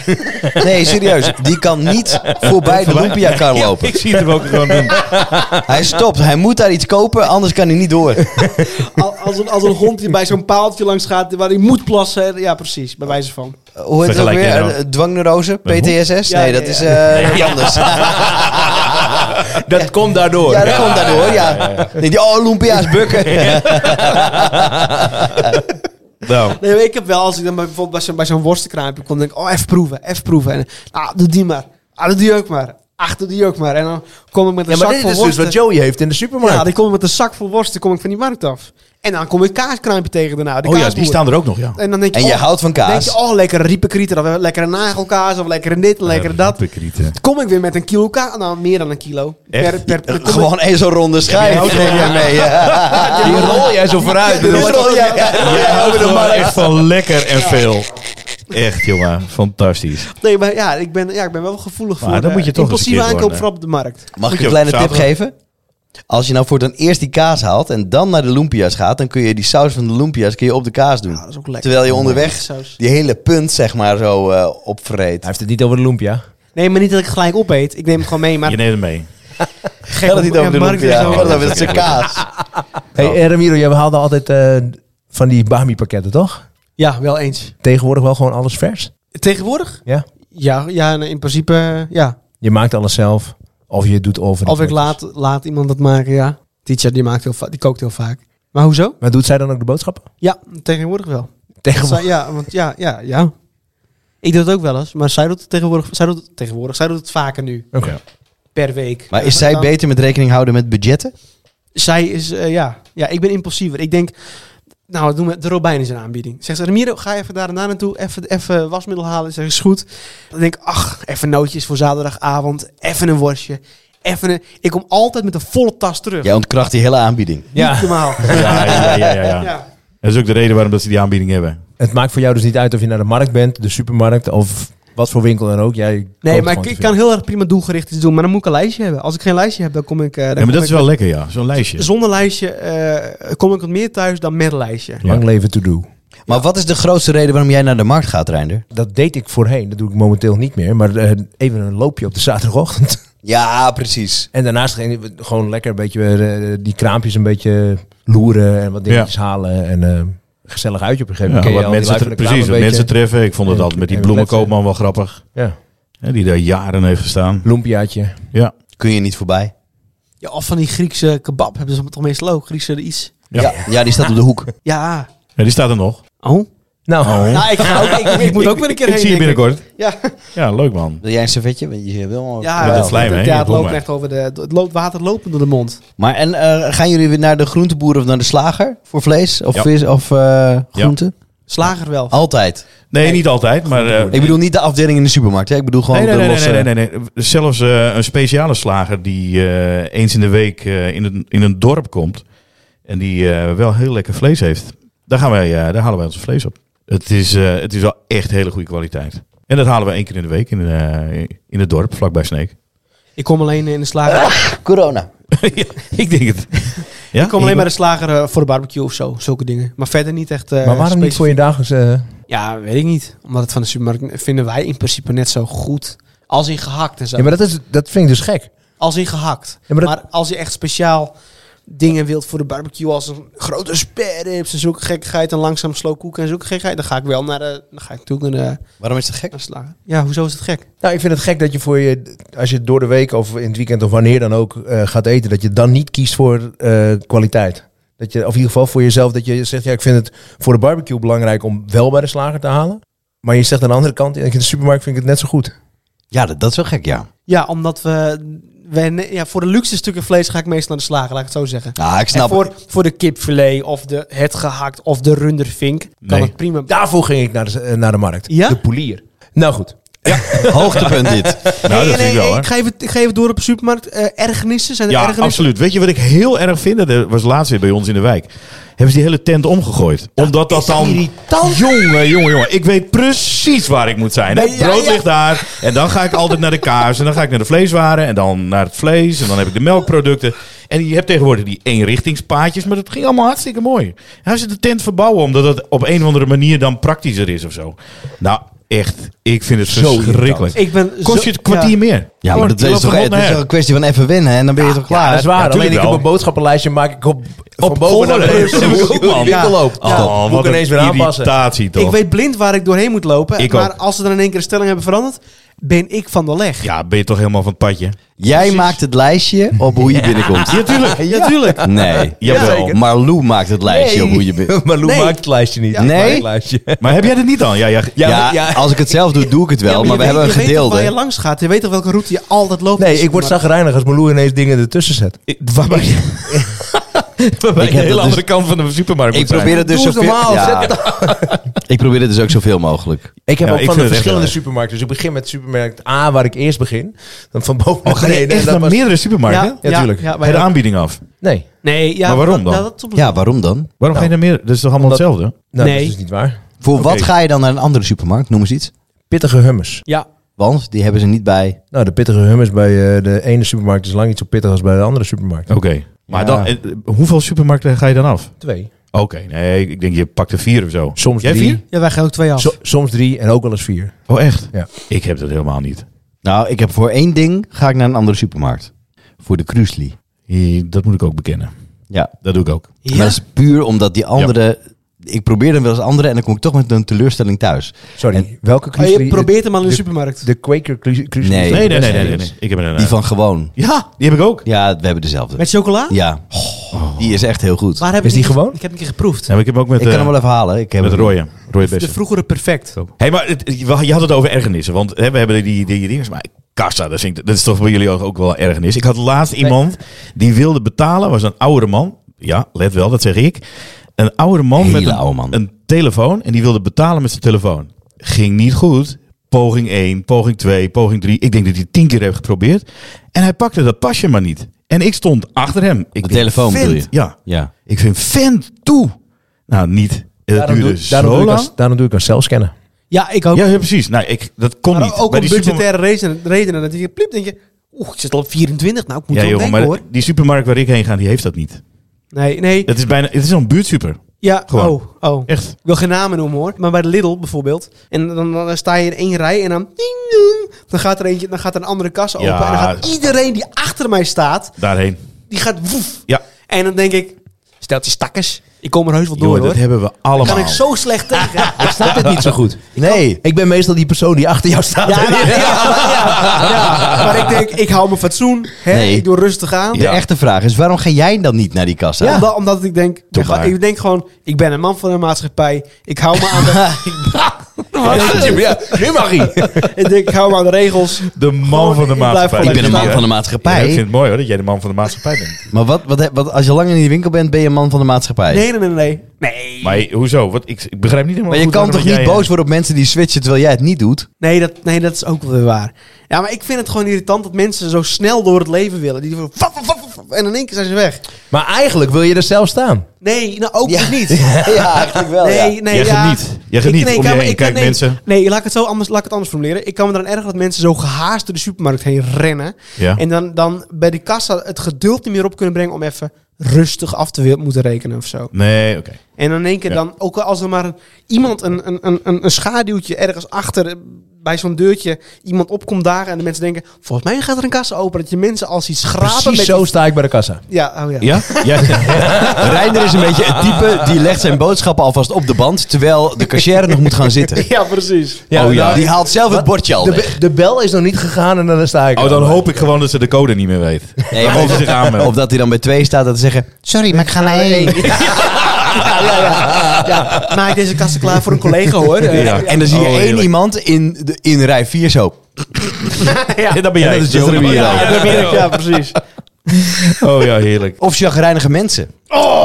C: Nee, serieus. Die kan niet voorbij de Lumpia-kar lopen.
D: Ik zie het hem ook gewoon doen.
C: Hij stopt. Hij moet daar iets kopen, anders kan hij niet door.
B: Al- Als een, als een hond die bij zo'n paaltje langs gaat waar hij moet plassen. Ja, precies. Bij wijze van.
C: Hoe heet het ook
D: Vergelijk
C: weer?
D: je nou?
C: Eh, Dwangneurose?
D: Met
C: PTSS?
B: Ja,
C: Nee,
B: ja,
C: dat
B: ja.
C: is eh, wat anders.
A: Dat komt daardoor.
C: Ja, dat komt daardoor, ja. Denk je, oh, Lumpia's bukken.
D: Nou,
B: Nee, maar ik heb wel, als ik dan bij- bijvoorbeeld bij zo'n, bij zo'n worstenkraampje kom, denk ik, oh, even proeven, even proeven. En, ah, doe die maar. Ah, doe die ook maar. Ach, doe die ook maar. En dan kom ik met een
A: Ja, maar
B: zak
A: dit
B: vol
A: is dus
B: worsten.
A: wat Joey heeft in de supermarkt.
B: ja, dan kom ik met een zak vol worsten kom ik van die markt af. En dan kom ik kaaskraampje tegen daarna. De
D: oh ja, die
B: kaasboer.
D: staan er ook nog, ja.
B: En dan denk je,
C: En je
B: oh,
C: houdt van
B: Denk je,
C: kaas.
B: oh, lekkere riepenkrieten, of lekkere nagelkaas, of lekkere dit, en lekkere dat. Dan
D: Hypocrieten.
B: kom ik weer met een kilo kaas, nou, meer dan een kilo.
D: Echt?
B: per, dan kom ik-
C: Gewoon één zo'n ronde schijf.
D: houdt
C: Neem je mee, ja.
A: Die rol jij zo vooruit.
C: Die rol jij-
D: Jij houdt
C: de
D: gewoon
C: markt.
D: echt van lekker en veel. Echt, jongen. Fantastisch.
B: Nee, maar ja, ik ben, ja, ik ben wel gevoelig
D: Maar
B: voor
D: dan
B: eh,
D: moet je toch eens een
B: impulsieve
D: keer
B: aankopen
D: worden.
B: vooral op de markt.
C: Mag
D: Moet
C: ik
D: je
C: een
D: ook
C: kleine tip
D: zaterdag-
C: geven? Als je nou voor dan eerst die kaas haalt en dan naar de Lumpia's gaat, dan kun je die saus van de Lumpia's kun je op de kaas doen.
B: Nou, dat is ook lekker.
C: Terwijl je onderweg
B: Saus.
C: die hele punt zeg maar zo eh opvreet.
A: Hij heeft het niet over de lumpia.
B: Nee, maar niet dat ik gelijk opeet. Ik neem het gewoon mee. Maar
D: Je neemt hem mee.
B: gek
C: Ik had het niet
B: om-
C: over de
B: ja, markt is
C: Lumpia,
B: zo-
C: ik had het over dat stuk kaas.
A: Hey, eh, Ramiro, jij haalde altijd eh, van die Bami pakketten, toch?
B: Ja, wel eens.
A: Tegenwoordig wel gewoon alles vers.
B: Tegenwoordig?
A: Ja.
B: Ja, ja nee, in principe eh, ja.
A: Je maakt alles zelf. Of je doet over.
B: Of ik laat, laat iemand dat maken, ja. Teacher, die, maakt heel va- die kookt heel vaak. Maar hoezo?
A: Maar doet zij dan ook de boodschappen?
B: Ja, tegenwoordig wel.
A: Tegenwoordig.
B: Zij- ja, want ja, ja, ja. Ik doe het ook wel eens, maar zij doet het tegenwoordig, zij doet het, tegenwoordig, zij doet het vaker nu,
A: Oké.
D: Ja.
B: per week.
C: Maar is zij
B: Dan-
C: beter met rekening houden met budgetten?
B: Zij is, eh, ja. ja, ik ben impulsiever. Ik denk, nou, wat doen we? De Robijn is een aanbieding. Zegt ze, Ramiro, ga even daar en daar naartoe, even, even wasmiddel halen. Zeg, is goed. Dan denk ik, ach, even nootjes voor zaterdagavond, even een worstje, even een... Ik kom altijd met een volle tas terug.
C: Jij ontkracht die hele aanbieding.
B: Niet
A: Ja.
B: normaal.
D: Ja, ja, ja, ja, ja.
B: ja.
D: Dat is ook de reden waarom dat ze die aanbieding hebben.
A: Het maakt voor jou dus niet uit of je naar de markt bent, de supermarkt of wat voor winkel dan ook. Jij
B: Nee,
A: koopt
B: maar ik,
A: gewoon
B: ik
A: te
B: kan heel erg prima doelgericht iets doen, maar dan moet ik een lijstje hebben. Als ik geen lijstje heb, dan kom ik... eh, dan
D: Ja, maar
B: kom
D: dat is
B: ik-
D: wel lekker, ja. Zo'n lijstje.
B: Zonder lijstje eh, kom ik wat meer thuis dan met lijstje.
A: veel. Lang leven to do.
C: Maar wat is de grootste reden waarom jij naar de markt gaat, Reinder?
A: Dat deed ik voorheen. Dat doe ik momenteel niet meer. Maar eh, even een loopje op de zaterdagochtend.
C: Ja, precies.
A: en daarnaast ging ik gewoon lekker een beetje eh, die kraampjes een beetje loeren en wat dingetjes halen. En eh, een gezellig uitje op een gegeven
D: Ja,
A: moment. Ken je
D: wat mensen,
A: al die lui
D: tre-
A: van de kraam
D: precies, wat
A: een beetje.
D: mensen treffen. Ik vond het
A: En-
D: altijd met die
A: en we kletsen.
D: bloemenkoopman wel grappig.
A: Ja,
D: Hè, die daar jaren heeft gestaan.
A: lumpiaatje.
D: Ja.
C: Kun je niet voorbij.
B: Ja, of van die Griekse kebab hebben ze toch meestal ook, Griekse iets.
D: Ja.
C: Ja, ja die staat op de hoek.
B: Ja.
D: Ja, die staat er nog.
B: Oh.
A: Nou,
B: Nou, ik, ga ook, ik, ik moet ook weer een keer
D: Ik
B: heen.
D: zie je
B: denk ik.
D: binnenkort.
B: Ja,
D: Ja, leuk man.
C: Wil jij een servetje? Want je wil
B: ja,
D: dat slijm, hè?
B: Ja, het
D: Je
B: loopt
D: honger.
B: echt over de... Het loopt water lopend door de mond.
C: Maar en eh, gaan jullie weer naar de groenteboer of naar de slager voor vlees of
D: Ja.
C: vis of eh groenten?
B: Slager wel.
D: Oh.
C: Altijd.
D: Nee, niet altijd, maar... eh,
C: Ik bedoel niet de afdeling in de supermarkt. Hè? Ik bedoel gewoon
D: nee, nee,
C: de
D: nee,
C: losse.
D: nee, nee, nee, nee. Zelfs eh, een speciale slager die eh, eens in de week eh, in, een, in een dorp komt. En die eh, wel heel lekker vlees heeft. Daar, gaan wij, eh, daar halen wij ons vlees op. Het is, eh, het is wel echt hele goede kwaliteit. En dat halen we één keer in de week in, eh, in het dorp, vlakbij Sneek.
B: Ik kom alleen in de slager...
C: Corona.
D: Ja, ik denk het. Ja?
B: Ik kom alleen bij de slager eh, voor de barbecue of zo. Zulke dingen. Maar verder niet echt... eh,
A: maar waarom niet
B: specifiek.
A: voor je dagelijks... eh,
B: Ja, weet ik niet. Omdat het van de supermarkt vinden wij in principe net zo goed. Als in gehakt en zo.
A: Ja, maar dat, is, dat vind ik dus gek.
B: Als in gehakt.
A: Ja,
B: maar,
A: maar dat-
B: als je echt speciaal dingen wilt voor de barbecue, als een grote spareribs en zulke gekkigheid en langzaam slow koeken en zulke gekkigheid, dan ga ik wel naar de, dan ga ik natuurlijk naar de,
C: Waarom is dat gek?
B: naar de slager. Ja, hoezo is het gek?
A: Nou, ik vind het gek dat je voor je, als je door de week of in het weekend of wanneer dan ook eh, gaat eten, dat je dan niet kiest voor eh, kwaliteit. Dat je, of in ieder geval voor jezelf, dat je zegt, ja, ik vind het voor de barbecue belangrijk om wel bij de slager te halen. Maar je zegt aan de andere kant, in de supermarkt vind ik het net zo goed.
C: Ja, dat, dat is wel gek, ja.
B: Ja, omdat we we- ja, voor de luxe stukken vlees ga ik meestal naar de slager, laat ik het zo zeggen.
C: Nou, ik
B: En
C: snap
B: voor, voor de kipfilet of de, het gehakt of de rundervink kan
D: Nee.
B: het prima.
A: Daarvoor ging ik naar de, eh, naar de markt.
B: Ja?
A: De polier. Nou goed.
C: het. Hoogtepunt dit.
D: Nou, dat
B: Hey,
D: vind ik
B: hey,
D: wel,
B: hey,
D: hoor.
B: ik, ga even, ik ga even door op de supermarkt. Eh, ergernissen, zijn er
D: Ja,
B: ergernissen?
D: absoluut. Weet je wat ik heel erg vind? Dat was laatst weer bij ons in de wijk. Hebben ze die hele tent omgegooid. Omdat dat dan... Jongen, jongen, jongen. Ik weet precies waar ik moet zijn. Het
B: Nee, ja,
D: brood
B: ja.
D: ligt daar. En dan ga ik altijd naar de kaas. En dan ga ik naar de vleeswaren. En dan naar het vlees. En dan heb ik de melkproducten. En je hebt tegenwoordig die eenrichtingspaadjes. Maar dat ging allemaal hartstikke mooi. Hij ze de tent verbouwen. Omdat dat op een of andere manier dan praktischer is of zo. Nou, echt. Ik vind het
A: Zo irritant.
D: verschrikkelijk.
B: Ik ben
D: Kost
B: zo-
D: je het kwartier
B: ja.
D: meer.
C: Ja, maar dat
D: Je
C: is
D: loopt
C: toch
D: van
C: het
D: hond
C: is
D: naar
C: toch een kwestie van even winnen hè, en dan ben je toch klaar.
A: Ja, dat is waar.
D: Ja,
A: Alleen
D: tuurlijk
A: ik heb
D: wel.
A: een boodschappenlijstje maak ik op,
D: op
A: van boven naar
D: volgorde.
A: beneden.
D: Dat is
A: Hoe
D: ook,
A: ik
D: man.
A: de winkel loop.
D: Oh,
A: Moet ik
D: wat
A: ineens weer
D: een
A: aanpassen.
D: irritatie toch?
B: Ik weet blind waar ik doorheen moet lopen.
D: Ik
B: maar
D: ook.
B: als ze dan in één keer de stelling hebben veranderd, ben ik van de leg.
D: Ja, ben je toch helemaal van het padje?
C: Jij maakt het lijstje op hoe je binnenkomt.
D: Natuurlijk.
B: natuurlijk.
C: Nee.
D: Jawel.
C: Marlou Marlou maakt het lijstje op hoe je binnenkomt.
A: maar Lou
B: Nee.
A: maakt het lijstje niet.
C: Ja.
A: Ik maak
C: Nee?
A: het lijstje.
D: Maar heb jij dat niet dan? Ja, ja.
C: Ja,
A: maar- ja.
C: als ik het zelf doe, doe ik het wel. maar, we hebben een
B: je Weet toch
C: gedeelde.
B: waar je langs gaat. Je weet toch welke route je altijd loopt.
A: Nee, ik word zagrijnig als Malou ineens dingen ertussen zet.
D: Waarbij
C: Ik
D: ik
C: heb
D: de
A: dus-
D: hele
C: dat
D: andere kant van de supermarkt
C: Ik
D: moet zijn.
C: probeer het dus
A: Doe eens
C: zoveel...
A: normaal,
C: Ja. Ik probeer het dus ook zoveel mogelijk.
A: Ik heb
D: Ja,
A: ook
D: ik
A: van
D: vind het
A: de
D: echt
A: verschillende
D: wel.
A: supermarkten. Dus ik begin met supermarkt A, waar ik eerst begin. Dan van boven
D: Oh,
A: naar
D: ga je
A: beneden.
D: echt
A: En dat
D: naar
A: was-
D: meerdere supermarkten?
B: Ja,
D: Ja,
A: Ja, tuurlijk.
B: Ja,
D: Bij de aanbieding af.
A: Nee, Nou,
B: Nee, ja,
D: Maar waarom
B: dat-
D: dan?
B: Dat, dat,
C: Ja, waarom dan?
D: Waarom ga je naar meerdere? Dat is toch allemaal
A: Omdat-
D: hetzelfde?
A: nou,
B: Nee.
A: dat is niet waar.
C: Voor
D: Oké.
C: wat ga je dan naar een andere supermarkt? Noem eens iets.
A: Pittige hummus.
B: ja.
C: Want die hebben ze niet bij.
A: Nou, de pittige hummus bij eh, de ene supermarkt is lang niet zo pittig als bij de andere supermarkt.
D: Oké. Maar
C: Ja.
D: dan, eh, hoeveel supermarkten ga je dan af?
A: Twee.
D: Oké, nee, ik denk je pakt er vier of zo.
A: Soms
D: Jij
A: drie.
D: vier?
B: ja, wij gaan ook twee af.
A: So- soms drie en ook wel eens vier.
D: Oh, echt?
A: Ja.
D: Ik heb dat helemaal niet.
C: Nou, ik heb voor één ding ga ik naar een andere supermarkt. Voor de Kruisli.
D: Hier, Dat moet ik ook bekennen.
C: Ja.
D: Dat doe ik ook.
B: ja?
C: Maar dat is puur omdat die andere... Ik probeer dan wel eens andere en dan kom ik toch met een teleurstelling thuis.
A: Sorry,
C: En-
A: welke
B: Oh,
A: kruisli?
B: je probeert hem al in de, supermarkt.
A: De Quaker kruisli?
C: Nee.
D: Nee, nee, nee, nee. nee, nee. Ik heb er een... eh,
C: Die van gewoon.
D: Ja, die heb ik ook.
C: Ja, we hebben dezelfde.
B: Met chocola?
C: Ja. Die is echt heel goed.
B: Waar heb
A: Is
B: ik
A: die gewoon?
B: Ik heb een keer geproefd.
D: Ja, maar ik heb hem ook Oh. met,
C: Ik kan
D: eh,
C: hem wel even halen. Ik heb
D: met eh,
C: hem-
D: rooien. Rooie
B: De
D: bessen.
B: vroegere perfect.
D: Hey, maar het- je had het over ergernissen. Want hè, we hebben die, die, die dingen. Maar kassa, dat, vind ik- dat is toch bij jullie ook, ook wel ergernis. Ik had laatst iemand die wilde betalen. Was een oudere man. Ja, let wel, dat zeg ik. Een oudere man
C: Hele
D: met een,
C: oude man.
D: een telefoon. En die wilde betalen met zijn telefoon. Ging niet goed. Poging 1, poging 2, poging 3. Ik denk dat hij tien keer heeft geprobeerd. En hij pakte dat pasje maar niet. En ik stond achter hem. Ik
C: De
D: denk,
C: telefoon bedoel
D: "Vent."
C: je?
D: Ja.
C: Ja.
D: Ik vind vent toe. Nou, niet. Het
A: Daarom
D: duurde
A: doe, daarom,
D: dus zo
A: doe ik
D: lang.
A: als, daarom doe ik als zelfscannen.
B: Ja, ik ook.
D: Ja, ja, precies. Nou, ik, dat kon
B: maar
D: niet.
B: ook
D: Bij
B: om
D: die
B: budgettaire redenen, redenen. Dat je pliep, denk je... Oeh, ik zit al op 24. Nou, ik moet
D: supermarkt- Ja,
B: wel
D: joh,
B: denken,
D: maar
B: hoor.
D: die supermarkt waar ik heen ga, die heeft dat niet.
B: Nee, nee.
D: Het is bijna, het is een buurtsuper.
B: Ja,
D: Gewoon.
B: oh, oh.
D: Echt.
B: Ik wil geen namen noemen hoor, maar bij de Lidl bijvoorbeeld. En dan, dan, dan sta je in één rij en dan... Ding, ding, dan gaat er eentje, dan gaat er een andere kassa open.
D: Ja.
B: En dan gaat iedereen die achter mij staat,
D: Daarheen.
B: die gaat woef.
D: Ja.
B: En dan denk ik, stelt je stakkers. Ik kom er heus wel door
D: Joh, dat
B: hoor.
D: hebben we allemaal.
B: Kan ik zo slecht tegen.
A: Ik snap het niet zo goed.
C: Nee. nou,
A: Ik ben meestal die persoon die achter jou staat.
B: Ja, maar, ja, ja, ja. maar ik denk, ik hou mijn fatsoen. Hè?
C: Nee.
B: Ik doe rustig aan.
C: De
D: Ja.
C: echte vraag is, waarom ga jij dan niet naar die kassa?
B: Ja. Omdat, omdat ik denk, ik, ga-
D: maar.
B: ik denk gewoon, ik ben een man van de maatschappij. Ik hou me aan de,
A: nu mag hij.
B: ik denk, ik hou me aan de regels.
D: De man
B: Gewoon,
D: van de
B: ik blijf
D: maatschappij.
B: gewoon
C: Ik ben een man van de
D: Ja,
C: maatschappij.
D: ik vind het mooi hoor, dat jij de man van de maatschappij bent.
C: Maar wat, wat, wat, als je lang in die winkel bent, ben je een man van de maatschappij.
B: Nee, nee, nee. Nee. nee.
D: Maar je- hoezo? Wat, ik, ik begrijp niet helemaal
C: Maar je
D: goed
C: kan
D: waarom
C: toch niet
D: jij-
C: boos worden op mensen die switchen terwijl jij het niet doet?
B: Nee, dat, nee, dat is ook wel weer waar. Ja, maar ik vind het gewoon irritant dat mensen zo snel door het leven willen. Die van, vaf, vaf, vaf, vaf, en in één keer zijn ze weg.
A: Maar eigenlijk wil je er zelf staan.
B: Nee, nou ook dus niet.
C: Ja, eigenlijk wel.
B: Nee, nee,
D: Jij
B: ja.
D: geniet. Jij geniet om je
B: kan me-
D: heen.
B: kan-
D: Kijk,
B: nee,
D: mensen.
B: Nee, laat ik het zo anders, laat ik het anders formuleren. Ik kan me dan erg dat mensen zo gehaast door de supermarkt heen rennen.
D: Ja.
B: En dan, dan bij de kassa het geduld niet meer op kunnen brengen om even rustig af te wil- moeten rekenen of zo.
D: Nee, oké.
B: En dan in één keer
D: Ja.
B: dan, ook als er maar een- iemand, een, een- een, een, een schaduwtje ergens achter eh, bij zo'n deurtje, iemand opkomt daar en de mensen denken, volgens mij gaat er een kassa open. Dat je mensen al ziet schrapen
A: Precies
B: met
A: zo
B: die-
A: sta ik bij de kassa.
B: Ja, oh ja.
D: Ja? ja?
C: Reinder is een beetje het type die legt zijn boodschappen alvast op de band, terwijl de cashier nog moet gaan zitten.
B: Ja, precies.
C: oh ja,
A: nou,
C: die haalt zelf het bordje al
A: de,
C: weg.
A: be- de bel is nog niet gegaan en dan sta ik
D: Oh,
A: er
D: dan
A: al.
D: hoop ik gewoon dat ze de code niet meer weet.
C: Nee,
D: Dan
C: maar
D: moet ze zich aanmelden.
C: of dat hij dan bij twee staat en te zeggen, sorry, maar ik ga naar één.
B: Ja, ja, ja. ja. Maak deze kassa klaar voor een collega hoor. Eh,
D: Ja.
C: En dan zie je
D: Oh,
C: één
D: heerlijk.
C: iemand in, de, in rij 4 zo.
B: ja.
D: dat ben jij.
C: dat is Joe.
D: Remy.
C: Ja,
B: Ja, dat ben ik, ja, precies.
D: Oh ja, heerlijk.
C: Of chagrijnige mensen.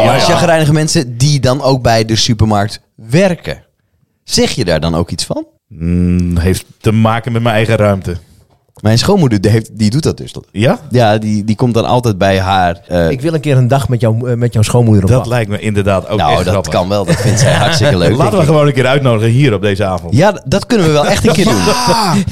C: maar chagrijnige mensen die dan ook bij de supermarkt werken. Zeg je daar dan ook iets van?
D: Mm, heeft te maken met mijn eigen ruimte.
C: Mijn schoonmoeder die, heeft, die doet dat dus.
D: Ja?
C: Ja, die, die komt dan altijd bij haar. eh,
A: Ik wil een keer een dag met, jou, eh, met jouw schoonmoeder op
D: Dat
A: pad.
D: lijkt me inderdaad ook
C: nou,
D: echt
C: dat
D: grappig.
C: kan wel. Dat vindt zij hartstikke leuk.
D: Laten we
C: denk ik.
D: gewoon een keer uitnodigen hier op deze avond.
C: Ja, d- dat kunnen we wel echt een keer doen.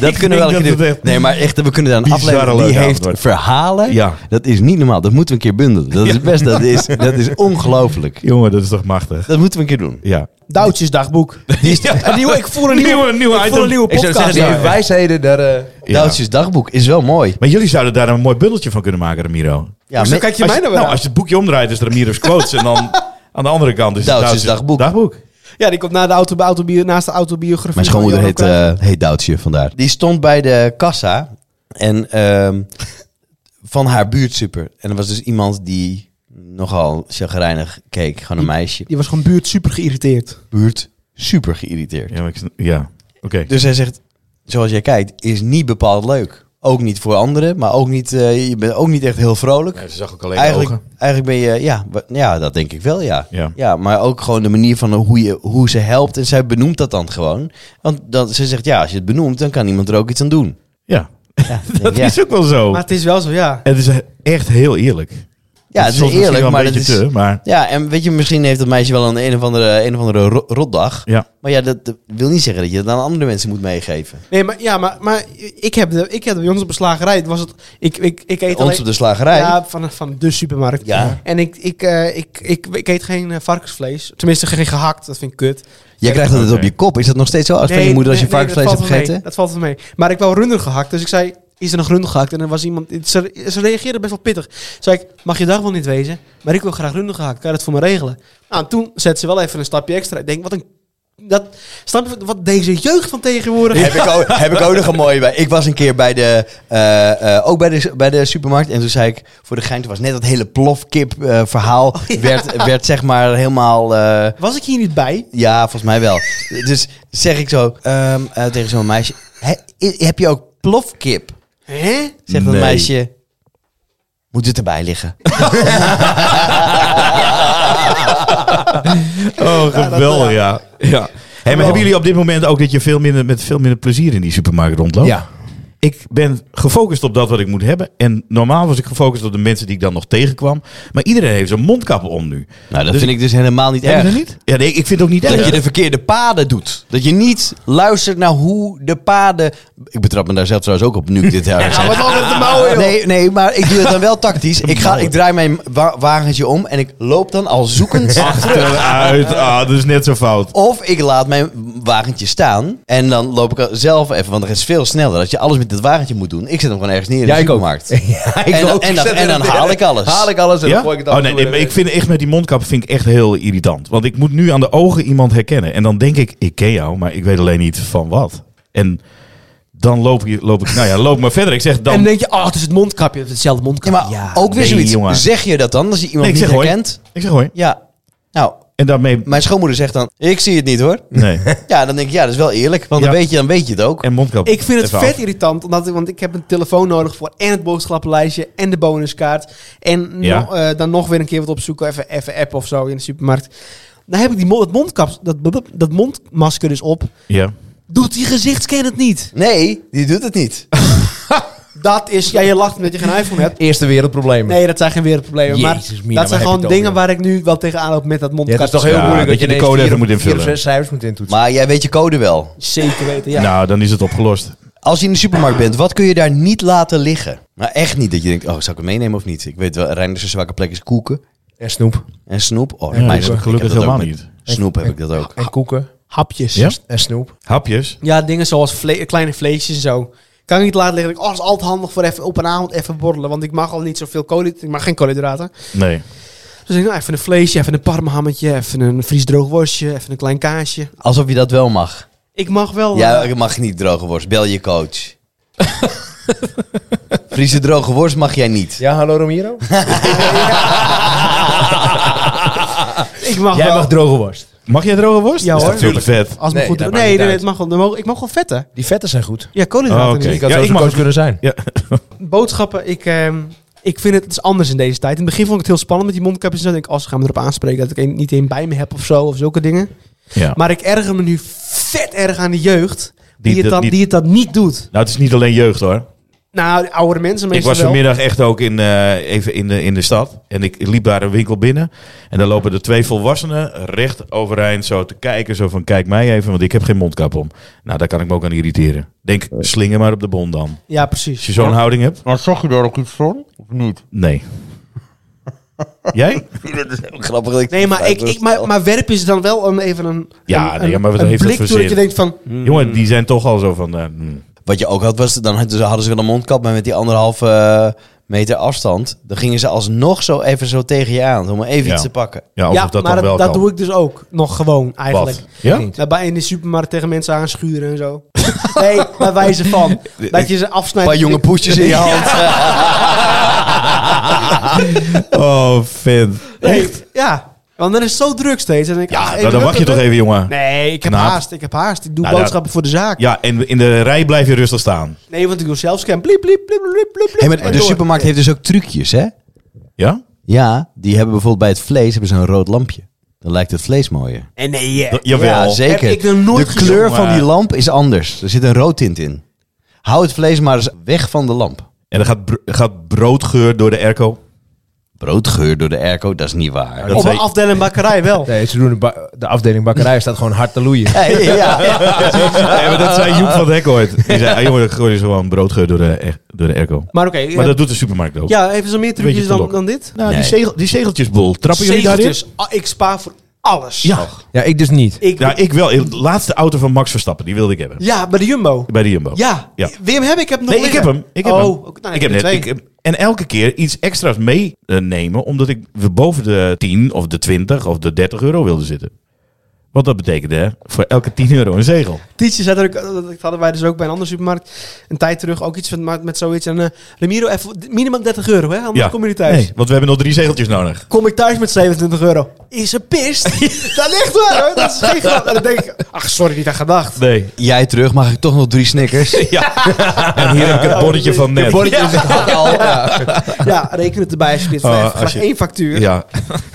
C: Dat
D: ik
C: kunnen we wel een
D: denk
C: keer
D: dat
C: doen.
D: het echt
C: Nee, maar echt, we kunnen daar een
D: bizarre
C: aflevering. Die
D: leuke
C: heeft
D: avond wordt.
C: verhalen.
D: Ja.
C: Dat is niet normaal. Dat moeten we een keer bundelen. Dat is
D: Ja.
C: best. Dat is, dat is ongelooflijk.
D: Jongen, dat is toch machtig.
C: Dat moeten we een keer doen.
D: Ja.
B: Douwtjes dagboek.
C: Die is,
B: Een nieuwe, ik voel een nieuwe,
D: Nieuwe- nieuwe
B: ik voel
D: item.
B: een nieuwe
A: Ik zou
B: podcast.
A: zeggen, die
B: Ja.
A: wijsheden, daar... eh,
D: Ja.
C: Douwtjes dagboek is wel mooi.
D: Maar jullie zouden daar een mooi bundeltje van kunnen maken, Ramiro.
C: Ja,
B: Dus dan
C: met-
B: kijk je
D: Als
B: mij
D: je,
B: nou
D: nou,
B: weer aan.
D: als je het boekje omdraait, is er Ramiro's quotes. en dan aan de andere kant is het
C: Douwtjes dagboek.
B: Ja, die komt na de auto, autobio, naast de autobiografie.
C: Mijn schoonmoeder
B: van
C: heet,
B: Johan
C: eh heet Douwtje vandaar. Die stond bij de kassa en, ehm, van haar buurtsuper. En er was dus iemand die nogal chagrijnig keek. Gewoon een meisje.
B: Die was gewoon buurt super geïrriteerd.
C: Buurt super geïrriteerd.
D: Ja, maar ik, sn- ja. oké.
C: Dus hij zegt, zoals jij kijkt, is niet bepaald leuk. Ook niet voor anderen, maar ook niet, eh, je bent ook niet echt heel vrolijk.
D: ze zag ook alleen
C: Eigenlijk, eigenlijk ben je, ja, wa- ja, dat denk ik wel, ja.
D: Ja.
C: maar ook gewoon de manier van hoe, je, hoe ze helpt. En zij benoemt dat dan gewoon. Want dat, ze zegt, ja, als je het benoemt, dan kan iemand er ook iets aan doen.
D: Ja,
C: Ja,
D: dat
C: ja.
D: is ook wel
C: eh,
D: zo.
B: Maar het is wel zo, ja.
D: Het is echt heel eerlijk.
C: ja het is
D: soms misschien wel
C: eerlijk,
D: een
C: maar dat
D: beetje
C: is...
D: te, maar
C: Ja, en weet je, misschien heeft dat meisje wel een, een of andere, een of andere ro- rotdag.
D: ja.
C: Maar ja, dat, dat wil niet zeggen dat je dat aan andere mensen moet meegeven.
B: Nee, maar, ja, maar, maar ik heb de, ik heb bij ons op de slagerij, het was het, ik, ik, ik eet
C: Ons
B: alleen...
C: op de slagerij.
B: Ja, van, van de supermarkt.
C: Ja.
B: En ik, ik, eh, ik, ik, ik eet geen eh, varkensvlees. Tenminste, geen gehakt. Dat vind ik kut.
C: Jij krijgt dat op je kop. Is dat nog steeds zo als van je moeder als je
B: nee, nee,
C: varkensvlees hebt
B: dat valt wel mee.
C: gegeten?
B: Dat valt wel mee. Maar ik wou runder gehakt. Dus ik zei, is er nog runder gehakt? En er was iemand, ze, ze reageerde best wel pittig. Zei ik, mag je dag wel niet wezen? Maar ik wil graag runder gehakt. Kan je dat voor me regelen? Nou, en toen zet ze wel even een stapje extra. Ik denk, wat een... Dat, snap je wat deze jeugd van tegenwoordig...
C: heb, ik ook, heb ik ook nog een mooie bij. Ik was een keer bij de, eh, eh, ook bij de, bij de supermarkt. En toen zei ik, voor de gein, toen was net dat hele plofkip eh, verhaal. werd, werd zeg maar helemaal... eh,
B: Was ik hier niet bij?
C: ja, volgens mij wel. dus zeg ik zo ehm, eh, tegen zo'n meisje. "Hè, i- heb je ook plofkip?
B: Hè?
C: Zegt dat
D: Nee.
C: meisje. Moet het erbij liggen?
D: Oh, geweldig, ja. ja. Hey, maar hebben jullie op dit moment ook dat je veel minder, met veel minder plezier in die supermarkt rondloopt?
A: ja.
D: Ik ben gefocust op dat wat ik moet hebben. En normaal was ik gefocust op de mensen die ik dan nog tegenkwam. Maar iedereen heeft zijn mondkap om nu.
C: Nou, dat
D: Dus-
C: vind ik dus helemaal niet
D: Heb
C: erg.
D: je dat niet? Ja, nee, ik vind het ook niet
C: Dat
D: erg.
C: je de verkeerde paden doet. Dat je niet luistert naar hoe de paden... Ik betrap me daar zelf trouwens ook op nu ik dit jaar zeg. Nee, nee, maar ik doe het dan wel tactisch. Ik, ga, ik draai mijn wa- wagentje om en ik loop dan al zoekend terug.
D: Achteruit. Ah, dat is net zo fout.
C: Of ik laat mijn wagentje staan en dan loop ik al zelf even, want dat is veel sneller. Dat je alles met het wagentje moet doen. Ik zet hem gewoon ergens neer in de
A: Ja, ik ook.
C: supermarkt.
A: Ja,
C: En
A: ik wil
C: dan-
A: ook
C: en dan-
A: zetten
C: en dan
A: in het-
C: haal ik alles.
A: Haal ik alles en
D: Ja?
A: dan gooi ik het
D: oh,
A: af.
D: nee, nee, maar ik vind echt met die mondkap vind ik echt heel irritant. Want ik moet nu aan de ogen iemand herkennen. En dan denk ik, ik ken jou, maar ik weet alleen niet van wat. En dan loop, je, loop ik, nou ja, loop maar verder. Ik zeg
B: En dan
D: dan...
B: denk je, oh, het is het mondkapje. Het is hetzelfde
C: Ja,
B: mondkapje.
C: maar ook weer
D: nee,
C: zoiets.
D: jongen.
C: Zeg je dat dan, als je iemand
D: Nee, ik
C: niet
D: zeg hoi.
C: herkent?
D: Ik zeg hoi.
C: Ja. Nou,
D: En daarmee...
C: mijn schoonmoeder zegt dan, ik zie het niet hoor.
D: Nee.
C: Ja, dan denk ik, ja, dat is wel eerlijk. Want dan,
D: Ja.
C: weet je, dan weet je het ook.
D: En mondkap.
B: Ik vind het
D: even
B: vet
D: af.
B: irritant, omdat ik, want ik heb een telefoon nodig voor en het boodschappenlijstje en de bonuskaart. En
D: Ja.
B: nog, eh, dan nog weer een keer wat opzoeken, even, even app of zo in de supermarkt. Dan heb ik die mo- het mondkap, dat, blub- blub- dat mondmasker dus op.
D: Ja.
B: Doet die gezichtscan het niet?
C: Nee, die doet het niet.
B: Dat is, ja, je lacht omdat je geen iPhone hebt.
A: Eerste wereldprobleem.
B: Nee, dat zijn geen wereldproblemen. Maar
A: Jezus, Mina,
B: dat zijn
A: waar
B: gewoon
A: heb je het
B: dingen
A: over?
B: waar ik nu wel tegenaan loop met dat
A: Ja,
B: mondkapje.
A: het is toch heel
D: Ja,
A: moeilijk
D: dat
A: dat
D: je
A: je
D: de
A: ineens
D: code
A: vier
D: even
A: of-
D: moet invullen.
A: vier of zes cijfers moet intoetsen.
C: Maar jij weet je code wel.
B: Zeker weten, ja.
D: Nou, dan is het opgelost.
C: Als je in de supermarkt bent, wat kun je daar niet laten liggen? Nou, echt niet dat je denkt, oh, zou ik het meenemen of niet? Ik weet wel, Reiners zwakke plek is koeken
A: En snoep.
C: en snoep. Oh,
D: Ja,
C: mijn
D: ik
C: snoep.
D: heb
C: Ik
D: gelukkig
C: heb dat ook
D: helemaal
C: met- Snoep heb ik dat ook.
A: En koeken.
B: Hapjes.
D: Ja?
A: En snoep.
D: Hapjes.
B: Ja, dingen zoals vle- kleine vleesjes en zo. Kan ik niet laten liggen. Ik, Oh, dat is altijd handig voor even op een avond even borrelen. Want ik mag al niet zoveel koolhydraten. Ik mag geen koolhydraten.
D: Nee.
B: Dus ik, nou, even een vleesje, even een parmahammetje, even een vriesdroog worstje, even een klein kaasje.
C: Alsof je dat wel mag.
B: Ik mag wel... eh,
C: Ja,
B: Ja,
C: ik mag niet droge worst. Bel je coach. Friese droge worst mag jij niet.
A: Ja, hallo Romero.
B: ik mag
A: Jij
B: wel...
A: mag droge worst.
D: Mag jij droge worst?
B: Ja,
D: is
B: hoor.
D: natuurlijk vet.
B: Als me
A: Nee,
B: goed
A: dat
B: nee, nee,
A: maakt niet
B: nee,
A: uit.
B: het mag wel, dan mogen- ik mag wel vetten.
A: Die vetten zijn goed.
B: Ja, koolhydraten
D: Oh, oké.
A: Die
B: niet.
A: kan
D: Ja,
A: zo
D: ik
A: de
D: mag
A: coach
D: ook-
A: kunnen zijn.
B: Boodschappen, ik, ehm, ik vind het, het is anders in deze tijd. In het begin vond ik het heel spannend met die mondkapjes. en zo. Dan denk ik, als ze gaan me erop aanspreken dat ik een- niet één bij me heb of zo, of zulke dingen.
D: Ja.
B: Maar ik erger me nu vet erg aan de jeugd die, het,
D: Die dat
B: dan,
D: niet-
B: die het dat niet doet.
D: Nou, het is niet alleen jeugd hoor.
B: Nou, de oudere mensen
D: Ik
B: meestal
D: was
B: wel.
D: vanmiddag echt ook in, eh, even in de, in de stad. En ik liep daar een winkel binnen. En daar lopen de twee volwassenen recht overeind zo te kijken. Zo van, kijk mij even, want ik heb geen mondkap om. Nou, daar kan ik me ook aan irriteren. Denk, slinger maar op de bon dan.
B: Ja,
D: Als
B: precies.
D: je zo'n houding hebt.
G: Maar zag je daar ook iets van? Of niet?
D: Nee. Jij?
C: Grappig. dat
B: Nee, maar, ik, ik, maar, maar werp is dan wel een, even een,
D: Ja,
B: een,
D: nee,
B: een-
D: maar wat
B: een
D: heeft dat
B: blik
D: voor
B: toe dat je
D: zin?
B: denkt van...
D: Jongen, die zijn toch al zo van... eh, mm.
C: Wat je ook had, was dan hadden ze- hadden ze wel een mondkap, maar met die anderhalve eh, meter afstand, dan gingen ze alsnog zo even zo tegen je aan, om even
D: Ja.
C: iets te pakken.
D: ja, Nou, of
B: ja,
D: dat dan
B: maar dat,
D: wel
B: dat
D: kan.
B: doe ik dus ook nog gewoon eigenlijk.
D: Wat? Ja?
B: Daarbij in de supermarkt tegen mensen aanschuren en zo. nee, bij wijze van. Dat je ze
C: Een
B: afsnijdt.
C: paar jonge poesjes in je hand.
D: Oh, fan.
B: Nee, ja, want dan is het zo druk steeds. En dan denk ik,
D: Ja,
B: ah,
D: nou, dan wacht je toch even, jongen.
B: Nee, ik heb
D: Knaap.
B: haast, ik heb haast. Ik doe
D: Nou,
B: boodschappen voor de zaak.
D: Ja, en in de rij blijf je rustig staan.
B: Nee, want ik wil zelf scannen. Bliep, bliep, bliep, bliep, bliep, bliep.
C: Hey, maar
B: En
C: de
B: door.
C: supermarkt heeft dus ook trucjes, hè?
D: Ja?
C: Ja, die hebben bijvoorbeeld bij het vlees hebben ze een rood lampje. Dan lijkt het vlees mooier.
B: Nee, nee, ja.
D: Jawel.
C: Ja, zeker.
B: Heb ik nog nooit
C: de
B: gezien,
C: kleur van
D: maar-
C: die lamp is anders. Er zit een rood tint in. Hou het vlees maar eens weg van de lamp.
D: En dan gaat, bro- gaat broodgeur door de airco.
C: Broodgeur door de airco, dat is niet waar.
D: dat
B: Op een
D: zei-
B: afdeling bakkerij wel.
A: Nee, ze doen de, ba- de afdeling bakkerij staat gewoon hard te loeien.
C: Hey, ja.
D: Nee, maar dat zei Joep van het Hek ooit. Die zei, ah, jongen, dat gooi je gewoon broodgeur door de, air- door de airco.
B: Maar oké.
D: Maar
B: eh,
D: dat doet de supermarkt ook.
B: ja, even zo meer trucjes
D: Beetje te
B: dan,
D: lok.
B: dan dit.
D: Nou,
C: Nee.
D: die, zegel, die zegeltjesbol, trappen jullie daarin?
B: Zegeltjes. Ah, Ik spaar voor alles.
D: Ja.
A: Ja, ik dus niet.
B: Ik,
D: ja, ik wel. De laatste auto van Max Verstappen, die wilde ik hebben.
B: ja, bij de Jumbo.
D: Bij de Jumbo.
B: Ja.
D: Ja.
B: Wim heb ik, ik heb hem nog
D: Nee, ik heb
B: liggen.
D: hem. Ik heb
B: oh,
D: hem.
B: oké, nou,
D: ik heb
B: er
D: net,
B: twee.
D: ik heb- en elke keer iets extra's meenemen, omdat ik boven de 10 of de 20 of de 30 euro wilde zitten. Want dat betekende hè, voor elke 10 euro een zegel.
B: Tietje zei er ook, dat hadden wij dus ook bij een andere supermarkt een tijd terug, ook iets met, met zoiets. En eh, Ramiro, even minimaal 30 euro, hè? Anders kom je niet thuis.
D: Nee, want we hebben nog drie zegeltjes nodig.
B: Kom ik thuis met 27 euro? Is een pist? dat ligt waar, hoor. Dat is geen grap. En dan denk ik, ach, sorry, niet aan gedacht.
D: Nee.
C: Jij terug, mag ik toch nog drie snickers?
D: En hier heb ik het bonnetje van net.
B: Ja, reken het erbij alsjeblieft.
D: Oh,
B: Vraag
D: als je-
B: één factuur.
D: Ja.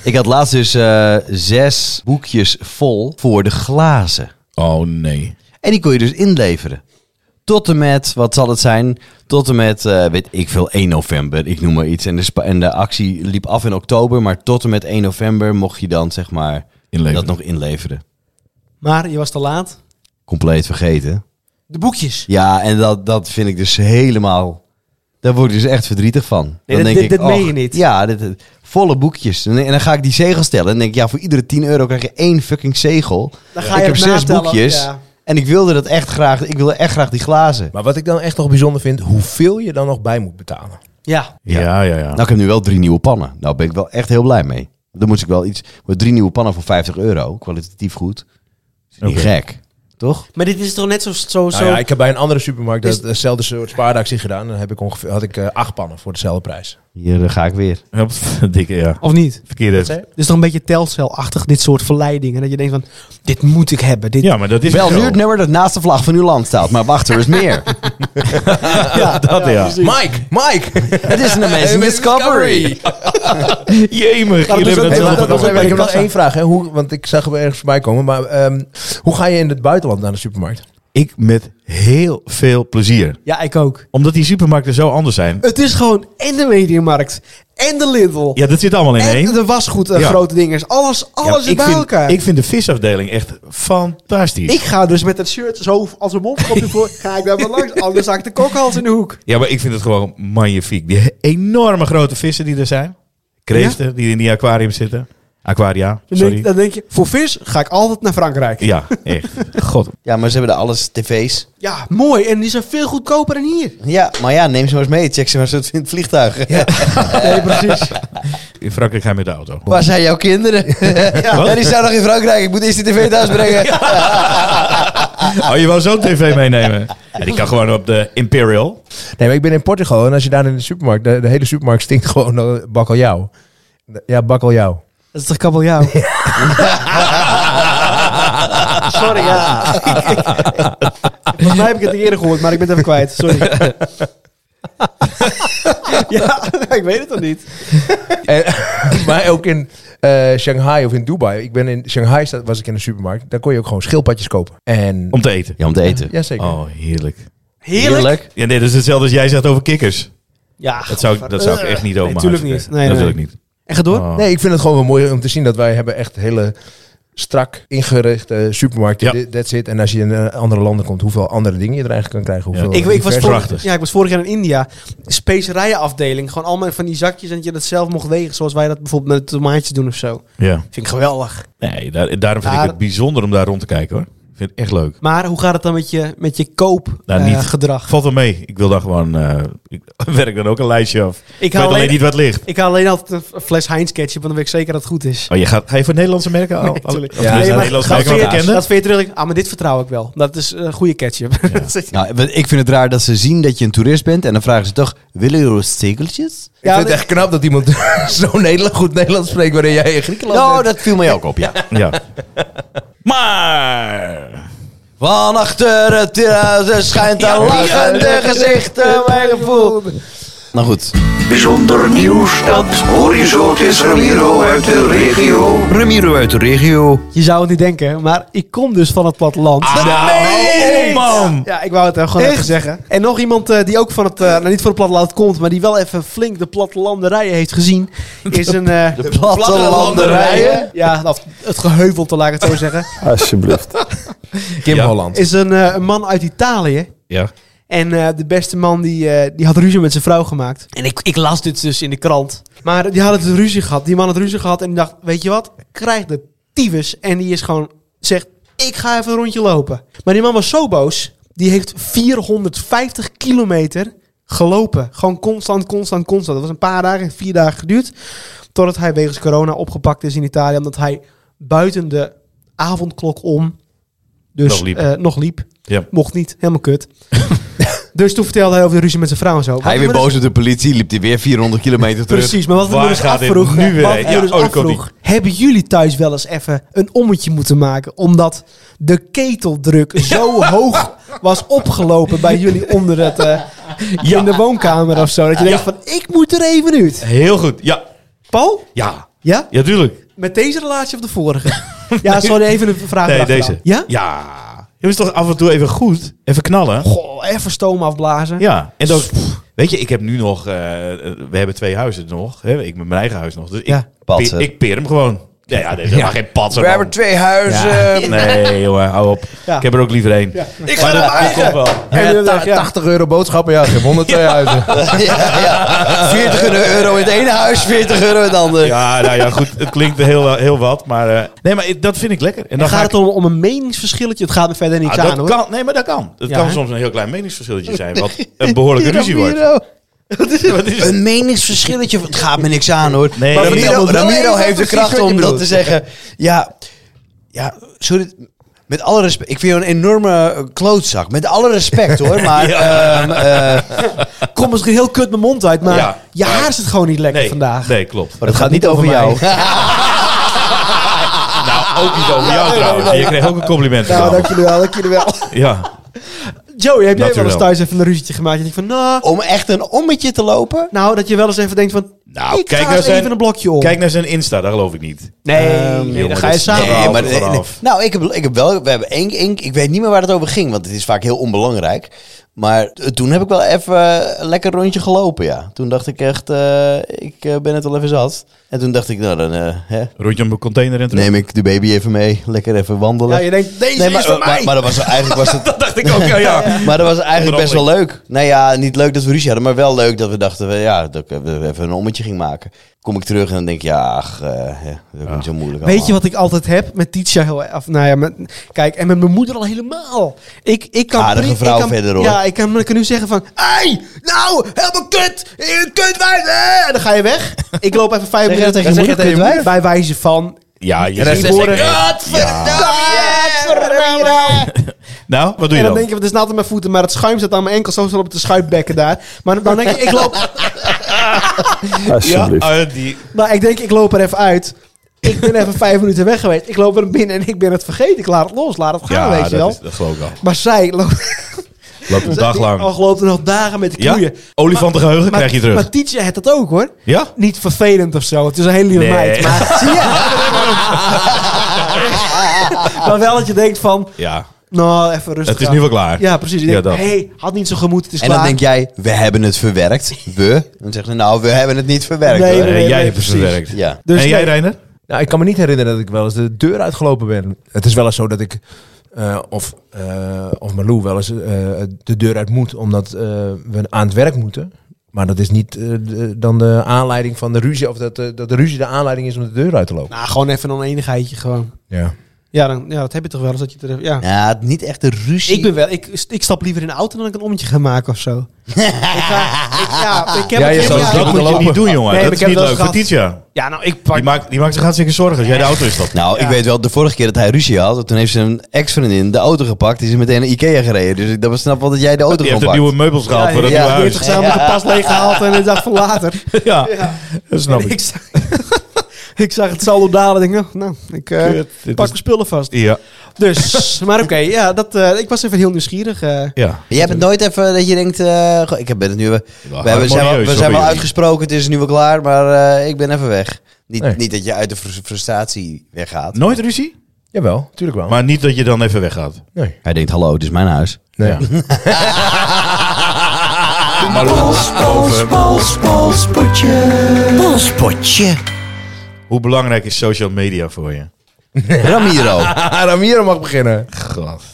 C: Ik had laatst dus eh, zes boekjes vol voor de glazen.
D: Oh nee.
C: En die kon je dus inleveren. Tot en met, wat zal het zijn? Tot en met, eh, weet ik veel, 1 november, ik noem maar iets. En de, spa- en de actie liep af in oktober, maar tot en met 1 november mocht je dan, zeg maar,
D: Inleveren.
C: dat nog inleveren.
B: Maar je was te laat.
C: Compleet vergeten.
B: De boekjes.
C: Ja, en dat, dat vind ik dus helemaal... Daar word ik dus echt verdrietig van. Dan
B: dit-
C: denk
B: dit-
C: ik,
B: dit meen
C: och,
B: je niet.
C: Ja, dit, dit- volle boekjes. En, en dan ga ik die zegels tellen. En denk ik, ja, voor iedere 10 euro krijg je één fucking zegel.
B: Dan
C: ik heb
B: het
C: zes
B: natellen.
C: boekjes.
B: Ja.
C: En ik wilde dat echt graag. Ik wilde echt graag die glazen.
A: Maar wat ik dan echt nog bijzonder vind, hoeveel je dan nog bij moet betalen.
B: ja.
D: Ja, ja, ja.
C: Nou, ik heb nu wel drie nieuwe pannen. Nou, ben ik wel echt heel blij mee. Dan moest ik wel iets. Met drie nieuwe pannen voor 50 euro. Kwalitatief goed. Is niet
D: Oké.
C: gek, toch?
B: Maar dit is toch net zo... zo,
A: Nou
B: zo...
A: ja, ik heb bij een andere supermarkt
B: Is-
A: dat- dezelfde soort spaaractie gedaan. Dan heb ik ongeveer, had ik eh, acht pannen voor dezelfde prijs.
C: Hier eh, ga ik weer.
D: Ja, pff, Dikke, ja.
B: Of niet?
A: zei je?
D: Verkeerde.
B: Het is toch een beetje telcelachtig, dit soort verleidingen. Dat je denkt van, dit moet ik hebben. Dit...
D: Ja, maar dat is
C: wel
D: zo.
C: nu het nummer dat naast de vlag van uw land staat. Maar wacht, er is meer.
D: Ja, dat ja.
A: Mike, Mike!
C: het is een Amazing Discovery.
D: Jemig.
B: dat
D: jullie
B: is
D: hebben
B: ook
D: het
B: zo-
D: wel
B: dat
D: goed
B: is ook-
A: ik
D: over.
A: heb nog één vraag, hè. Hoe, want ik zag hem ergens voorbij komen. Maar ehm, hoe ga je in het buitenland naar de supermarkt?
D: Ik met heel veel plezier.
B: Ja, ik ook.
D: Omdat die supermarkten zo anders zijn.
B: Het is gewoon en de mediamarkt en de Lidl.
D: Ja, dat zit allemaal in één.
B: En de wasgoed eh,
D: Ja.
B: grote dingers. Alles,
D: Ja,
B: alles is
D: ik
B: bij
D: vind,
B: elkaar.
D: Ik
B: Ik,
D: vind de visafdeling echt fantastisch.
B: ga dus met dat shirt zo als een mondkapje voor. Ga ik daar maar langs. Anders zak ik de kokhals in de hoek.
D: Ja, maar ik vind het gewoon magnifiek. Die enorme grote vissen die er zijn. Kreeften die in die aquarium zitten. Aquaria,
B: Dan
D: sorry.
B: denk, dan denk je, voor vis ga ik altijd naar Frankrijk. Ja,
D: Ja, echt. God.
C: Ja, maar ze hebben daar alles tv's.
B: mooi. En die zijn veel goedkoper dan hier.
C: Ja, maar ja, neem ze maar eens mee. Check ze maar eens in het vliegtuig.
B: Nee, precies.
D: In Frankrijk ga je met de auto.
C: Waar zijn jouw kinderen? ja. die staan nog in Frankrijk. Ik moet eerst die tv thuis brengen.
D: Oh, je wou zo'n tv meenemen? Ja, die kan gewoon op de Imperial.
A: Nee, maar ik ben in Portugal en als je daar in de supermarkt... De, de hele supermarkt stinkt gewoon naar bakkeljauw. Ja, bakkeljauw.
B: Dat is toch kabeljauw? Sorry, ja. Volgens mij heb ik het eerder gehoord, maar ik ben het even kwijt. Sorry. ja, ik weet het nog niet.
A: En- maar ook in eh, Shanghai of in Dubai. Ik ben in Shanghai sta- was ik in de supermarkt. Daar kon je ook gewoon schildpadjes kopen. En
D: Om te eten.
C: Ja, om te eten.
A: jazeker.
D: Oh, heerlijk.
B: Heerlijk.
D: Ja, nee, dat is hetzelfde als jij zegt over kikkers.
B: Ja,
D: Dat zou, ik- dat zou ik echt niet over
B: Nee,
D: mijn
B: tuurlijk
D: huis
B: niet.
D: vertellen.
B: Nee, nee.
D: Natuurlijk niet.
B: En ga door.
D: Oh.
A: Nee, ik vind het gewoon wel mooi om te zien dat wij hebben echt hele strak ingerichte supermarkten.
D: Ja.
A: Dit- That's it. En als je in eh, andere landen komt, hoeveel andere dingen je er eigenlijk kan krijgen.
B: Ik,
A: Hoeveel
B: ik, was
A: diverse-
D: prachtig.
B: vorig, ja, ik was vorig jaar in India. Specerijenafdeling. Gewoon allemaal van die zakjes en dat je dat zelf mocht wegen. Zoals wij dat bijvoorbeeld met tomaatjes doen of zo.
D: Ja.
B: Vind ik geweldig.
D: Nee, daar- daarom vind ik
B: Daar-
D: het bijzonder om daar rond te kijken hoor. Ik vind het echt leuk.
B: Maar hoe gaat het dan met je, met je koop
D: Nou,
B: eh,
D: niet.
B: gedrag?
D: Valt wel mee. Ik wil daar gewoon... eh, ik werk dan ook een lijstje af. Ik
B: Ik
D: weet
B: haal,
D: alleen
B: alleen,
D: niet wat ligt.
B: ik haal alleen altijd een f- fles Heinz ketchup, want dan weet ik zeker dat het goed is.
D: Oh, je gaat, ga je voor Nederlandse merken? al?
B: Nee,
D: Al-
B: tuurlijk.
D: of
A: Ja,
D: is het
A: nee, maar
D: Nederlandse
B: dat,
D: merken wat
B: vind je,
D: bekende?
B: dat vind je terug. Ah, maar dit vertrouw ik wel. Dat is eh, goede ketchup. Dat is-
C: Nou, ik vind het raar dat ze zien dat je een toerist bent en dan vragen ze toch, willen jullie stekeltjes?
A: Ik
B: Ja,
A: vind het echt knap dat iemand zo Nederland, goed Nederlands spreekt waarin jij in Griekenland bent.
C: Nou, dat viel mij ook op, ja.
D: Ja. Nou, Maar...
C: Van achter het terras schijnt een lachende gezichten mijn gevoel. Nou goed.
H: Bijzonder nieuws dat hoor je zo. Het is Ramiro uit de regio.
C: Ramiro uit de regio.
B: je zou het niet denken, maar ik kom dus van het platteland.
D: Oh, Ah, man!
B: Ja, ik wou het eh, gewoon even zeggen. En nog iemand eh, die ook van het, eh, nou niet van het platteland komt, maar die wel even flink de plattelanderijen heeft gezien, is een... eh,
C: Plattelanderijen.
B: Ja, nou, het geheuvelte, laat ik het zo zeggen.
A: Kim
D: Ja.
A: Holland.
B: Is een, eh, een man uit Italië.
D: Ja.
B: En eh, de beste man die, eh, die had ruzie met zijn vrouw gemaakt. En ik, ik las dit dus in de krant. Maar die had het ruzie gehad. Die man had ruzie gehad en die dacht, weet je wat? Krijg de tyfus. En die is gewoon, zegt, ik ga even een rondje lopen. Maar die man was zo boos. Die heeft 450 kilometer gelopen. Gewoon constant, constant, constant. Dat was een paar dagen, vier dagen geduurd. Totdat hij wegens corona opgepakt is in Italië. Omdat hij buiten de avondklok om dus,
D: Nog liep.
B: eh, nog liep.
D: Ja.
B: Mocht niet, helemaal kut. dus toen vertelde hij over de ruzie met zijn vrouw en zo. Wat
C: Hij
B: ik
C: weer
B: me dus-
C: boos op de politie, liep hij weer 400 kilometer terug.
B: Precies, maar wat ik me
D: Waar
B: dus
D: gaat dit
B: afvroeg,
D: nu weer
B: wat
D: heen?
B: ik me
D: Ja,
B: dus
D: oh, daar komt-ie.
B: afvroeg hebben jullie thuis wel eens even een ommetje moeten maken, omdat de keteldruk zo hoog was opgelopen bij jullie onder het, eh, in de woonkamer of zo, dat je denkt van, ik moet er even uit.
D: Heel goed. Ja.
B: Paul?
D: Ja.
B: Ja?
D: Ja, tuurlijk.
B: Met deze relatie of de vorige? ja, sorry, even een vraag
D: Nee,
B: erachteraan.
D: deze.
B: Ja?
D: Ja. Je moet toch af en toe even goed, even knallen.
B: Goh, even stoom afblazen.
D: Ja, en dan, weet je, ik heb nu nog, eh, we hebben twee huizen nog, hè, ik met mijn eigen huis nog, dus ik,
B: Ja,
C: patsen.
D: ik, ik peer hem gewoon. Ja, ja, dit is helemaal geen patser.
C: We
D: man.
C: hebben twee huizen.
D: Nee, jongen, hou op.
B: Ehm, Ja.
D: Ik heb er ook liever één.
C: Ik ga naar mijn
D: Komt wel.
B: En dan
A: Ja,
B: dacht,
A: Eh, ta-
B: ja.
A: 80 euro boodschappen, ja, geen 102 huizen.
C: Ja, ja. 40 euro in het ene huis, 40 euro in het andere.
D: Ja, nou ja, goed, het klinkt heel, heel wat, maar... eh, nee, maar ik- dat vind ik lekker. En dan
B: gaat
D: ga
B: het om, om een meningsverschilletje? Het gaat er verder niet
D: ik, Ah,
B: aan,
D: dat
B: hoor.
D: kan, nee, maar dat kan. Het
B: Ja,
D: kan
B: hè?
D: soms een heel klein meningsverschilletje zijn, wat een behoorlijke ruzie wordt. Wat is het?
C: Een meningsverschilletje, het gaat me niks aan hoor.
D: Nee,
C: maar
D: dat niet.
C: Ramiro,
D: Ik wil wel
C: Ramiro
D: even
C: heeft de
D: precies
C: kracht
D: wat je
C: om dat
D: bedoelt.
C: te zeggen. Ja, ja, sorry. Met alle respect. Ik vind jou een enorme eh, klootzak. Met alle respect hoor. Maar ehm, eh,
B: Komt misschien heel kut mijn mond uit, maar
D: Ja.
B: je haar zit gewoon niet lekker
D: Nee,
B: vandaag. Oh,
D: nee, klopt.
C: het gaat niet over jou.
D: Nou, ook niet over jou trouwens. Je kreeg ook een compliment van
B: Nou,
D: me.
B: dank jullie wel, dank jullie wel.
D: Ja.
B: Joey, heb jij wel eens
D: Natuurlijk.
B: thuis even een ruzietje gemaakt? En ik van, nou,
C: Om echt een ommetje te lopen.
B: nou, dat je wel eens even denkt van,
D: Nou,
B: ik
D: kijk
B: ga
D: naar
B: eens
D: zijn-
B: even een blokje om.
D: Kijk naar zijn Insta, daar geloof ik niet.
B: nee, nee, dan
D: jongen,
B: ga je
D: dat is-
B: samen.
D: Nee, maar-
C: eh,
D: vanaf.
C: nou, ik heb, ik heb wel, we hebben één, één- ik weet niet meer waar het over ging, want het is vaak heel onbelangrijk. Maar eh, toen heb ik wel even eh, een lekker rondje gelopen, ja. Toen dacht ik echt, eh, ik eh, ben het wel even zat. En toen dacht ik, nou dan, eh, hè,
D: Rondje om een container en terug.
C: neem ik de baby even mee, lekker even wandelen.
B: Ja, je denkt, deze
C: nee, maar,
B: is van
C: maar,
B: mij.
C: maar dat was eigenlijk was het.
D: Dat dacht ik ook, ja. ja.
C: Maar dat was eigenlijk best wel leuk. Nou ja, niet leuk dat we ruzie hadden, maar wel leuk dat we dachten, we- ja, dat ik eh, we even een ommetje ging maken. Kom ik terug en dan denk ik, ja, ach, eh, hè, dat is ook niet zo moeilijk
B: Weet je wat ik altijd heb met Titia heel erg? Nou ja, met, kijk, en met mijn moeder al helemaal. Ik, ik kan
C: Aardige
B: pri-
C: vrouw
B: ik kan,
C: verder, hoor.
B: Ja, ik kan, ik kan nu zeggen van... Hé, nou, helemaal kut! eh, Kut wijf! eh," En dan ga je weg. Ik loop even vijf
C: Zeg je
B: minuten
C: dat
B: tegen je
C: tegen
B: moeder.
C: je
B: kut
C: wijf?
B: wijf? Bij wijze van...
D: Ja, je
A: En dan
D: ziet
A: zeg ik,
D: woorden. Nou, wat doe je
B: En dan
D: dan?
B: denk je, het is nat aan mijn voeten, maar het schuim zit aan mijn enkel. Zo zal op de schuipbekken daar. Maar dan denk ik, ik loop,
D: ja, eh, die,
B: oh, nou, ik, denk, ik loop er even uit. Ik ben even vijf minuten weg geweest. Ik loop er binnen en ik ben het vergeten. Ik laat het los, laat het gaan, weet je wel.
D: dat, is, dat geloof ik wel.
B: Maar zij loopt,
D: Loopt een dag lang.
B: al loopt er nog dagen met de
D: Ja?
B: knoeien.
D: Olifantengeheugen
B: Maar,
D: krijg je terug.
B: maar Tietje had dat ook hoor.
D: Ja?
B: Niet vervelend of zo. Het is een hele lieve
D: Nee.
B: meid. Maar, zie je? maar wel dat je denkt van,
D: Ja.
B: nou even rustig
D: Het is
B: aan.
D: nu wel klaar.
B: Ja, precies. Je
D: Ja,
B: denkt,
D: dat.
B: hey, had niet zo gemoed, het is
C: En
B: klaar.
C: dan denk jij, we hebben het verwerkt. We? Dan zeggen ze, nou, we hebben het niet verwerkt.
B: Nee,
C: hoor.
D: Eh,
B: nee,
D: jij
B: nee,
D: hebt het
B: precies.
D: verwerkt.
C: Ja.
B: Dus
D: en jij,
B: nee.
D: Reiner?
A: Nou, ik kan me niet herinneren dat ik wel eens de deur uitgelopen ben. Het is wel eens zo dat ik eh, of, eh of Malou wel eens eh, de deur uit moet, omdat eh, we aan het werk moeten. Maar dat is niet eh, de- dan de aanleiding van de ruzie, of dat, eh, dat de ruzie de aanleiding is om de deur uit te lopen.
B: Nou, gewoon even een oneenigheidje gewoon.
A: Ja.
B: Ja, dan, ja, dat heb je toch wel eens dat je er, ja.
C: Ja, niet echt de ruzie.
B: Ik ben wel, ik, ik stap liever in de auto dan ik een ommetje ga maken of zo. ik ga, ik, ja, ik heb
A: Ja,
B: het-
A: je
B: ja,
A: zou
B: ja,
A: het
D: dat
A: ook
D: moet je
A: lopen.
D: niet doen, jongen.
B: Nee, maar ik
D: dat is
B: heb
D: niet
B: wel
D: leuk voor
B: eens
D: Tietja.
B: Ja, nou, ik pak.
D: Die maakt, die maakt zich hartstikke zorgen als jij de auto instapt.
C: Nou, ik
B: Ja.
C: weet wel, de vorige keer dat hij ruzie had, toen heeft zijn ex-vriendin de auto gepakt. Die is meteen naar Ikea gereden. Dus ik dat snap wel dat jij de auto
D: Je
C: gewoon
D: hebt de
C: pakt.
D: nieuwe meubels gehaald voor dat
C: ja,
D: nieuwe
C: ja.
D: huis.
B: 40 samen met de pas leeggehaald en een dag van later.
D: Ja, dat snap
B: Ik
D: ik.
B: zag, ik zag het saldo dalen en denk, nou, ik eh,
D: Kut, dit
B: pak
D: is-
B: mijn spullen vast.
D: Ja,
B: Dus, maar oké, ja, dat, eh, ik was even heel nieuwsgierig. eh.
D: ja.
C: Jij hebt het nooit even dat je denkt, eh, goh, ik heb- ben het nu... We, we, hebben, zijn, wel-
D: harmonieus,
C: we
D: hoor,
C: zijn wel
D: jullie.
C: uitgesproken, het is nu wel klaar, maar eh, ik ben even weg. Niet,
A: Nee.
C: niet dat je uit de frus- frustratie weggaat.
D: Nooit ruzie,
A: Jawel, tuurlijk wel.
D: maar niet dat je dan even weggaat.
A: nee.
C: Hij denkt, hallo, dit is mijn huis.
A: nee.
D: Ja.
H: Maar pols, pols, pols, pols, potje.
C: Polspotje.
D: Hoe belangrijk is social media voor je?
C: Ramiro.
A: Ah, Ramiro mag beginnen.
B: ja,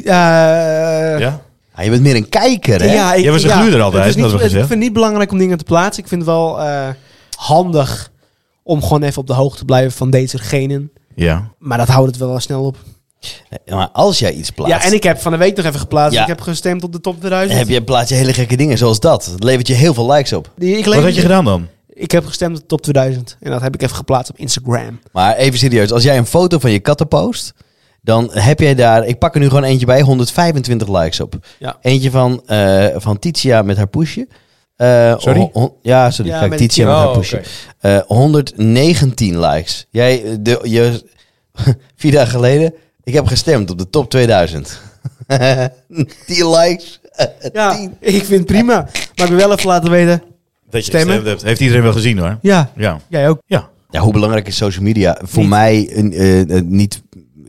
B: eh,
D: Ja?
C: Ah, je bent meer een kijker, hè?
B: Ja, ik,
D: Jij was een
B: ja,
D: gluurder altijd,
B: Het is niet,
D: hadden we
B: ik
D: gezegd.
B: vind het niet belangrijk om dingen te plaatsen. Ik vind het wel eh, handig om gewoon even op de hoogte te blijven van dezegenen.
D: Ja.
B: Maar dat houdt het wel snel op.
C: Nee, Maar als jij iets plaatst,
B: Ja, en ik heb van de week nog even geplaatst.
C: Ja.
B: Ik heb gestemd op de top 2000.
C: heb je, plaats je hele gekke dingen zoals dat. Dat levert je heel veel likes op.
B: Die, ik,
D: Wat
B: leef-
D: had je gedaan dan?
B: ik heb gestemd op de top 2000. En dat heb ik even geplaatst op Instagram.
C: Maar even serieus, als jij een foto van je katten post, dan heb jij daar, ik pak er nu gewoon eentje bij, 125 likes op.
B: Ja.
C: Eentje van, eh, van Titia met haar poesje. Eh,
A: Sorry?
C: hon- hon- ja, sorry.
B: Ja,
C: Kijk,
B: met-
C: Titia met
A: Oh,
C: haar poesje.
A: oké.
C: Eh, 119 likes. Jij, eh, de, je, vier dagen geleden, ik heb gestemd op de top 2000. 10 likes.
B: Ja, ik vind het prima. Maar ik wil wel even laten weten.
D: Dat
B: Stemmen?
D: gestemd hebt. Heeft iedereen wel gezien hoor.
B: Ja,
D: Ja.
B: jij ook.
D: Ja.
C: Ja, hoe belangrijk is social media? Voor
B: Niet.
C: mij een, eh, eh, niet,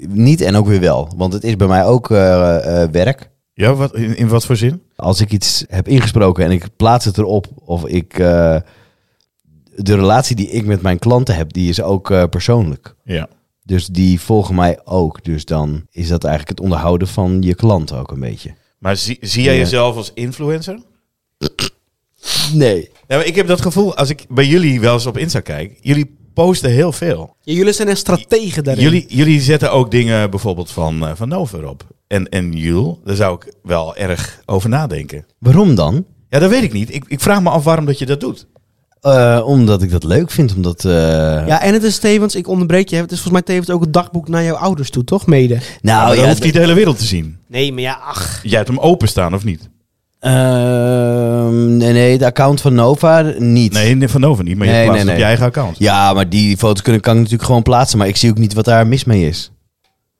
C: niet en ook weer wel. Want het is bij mij ook eh, eh, werk.
D: Ja, wat, in, in wat voor zin?
C: als ik iets heb ingesproken en ik plaats het erop, of ik. eh, de relatie die ik met mijn klanten heb, die is ook eh, persoonlijk.
D: Ja.
C: Dus die volgen mij ook. Dus dan is dat eigenlijk het onderhouden van je klant ook een beetje.
D: Maar zie, zie jij
C: Ja.
D: jezelf als influencer?
C: Nee.
D: Ja, maar ik heb dat gevoel, als ik bij jullie wel eens op Insta kijk, jullie posten heel veel.
B: Ja, jullie zijn echt strategen daarin.
D: Jullie, jullie zetten ook dingen bijvoorbeeld van, eh, van Nover op. En, en Jul, daar zou ik wel erg over nadenken.
C: Waarom dan?
D: Ja, dat weet ik niet. Ik, ik vraag me af waarom dat je dat doet.
C: Eh, omdat ik dat leuk vind, omdat... eh,
B: Ja, en het is tevens, ik onderbreek je, het is volgens mij tevens ook het dagboek naar jouw ouders toe, toch? Mede.
D: Maar
C: Nou
D: dan
C: ja,
D: hoeft niet de hele wereld te zien.
B: Nee, maar ja, ach.
D: Jij hebt hem openstaan, of niet?
C: ehm, nee, nee, de account van Nova niet.
D: Nee, van Nover niet, maar je
C: Nee,
D: plaatst
C: nee, nee.
D: het op je eigen account.
C: Ja, maar die foto's kunnen, kan ik natuurlijk gewoon plaatsen, maar ik zie ook niet wat daar mis mee is.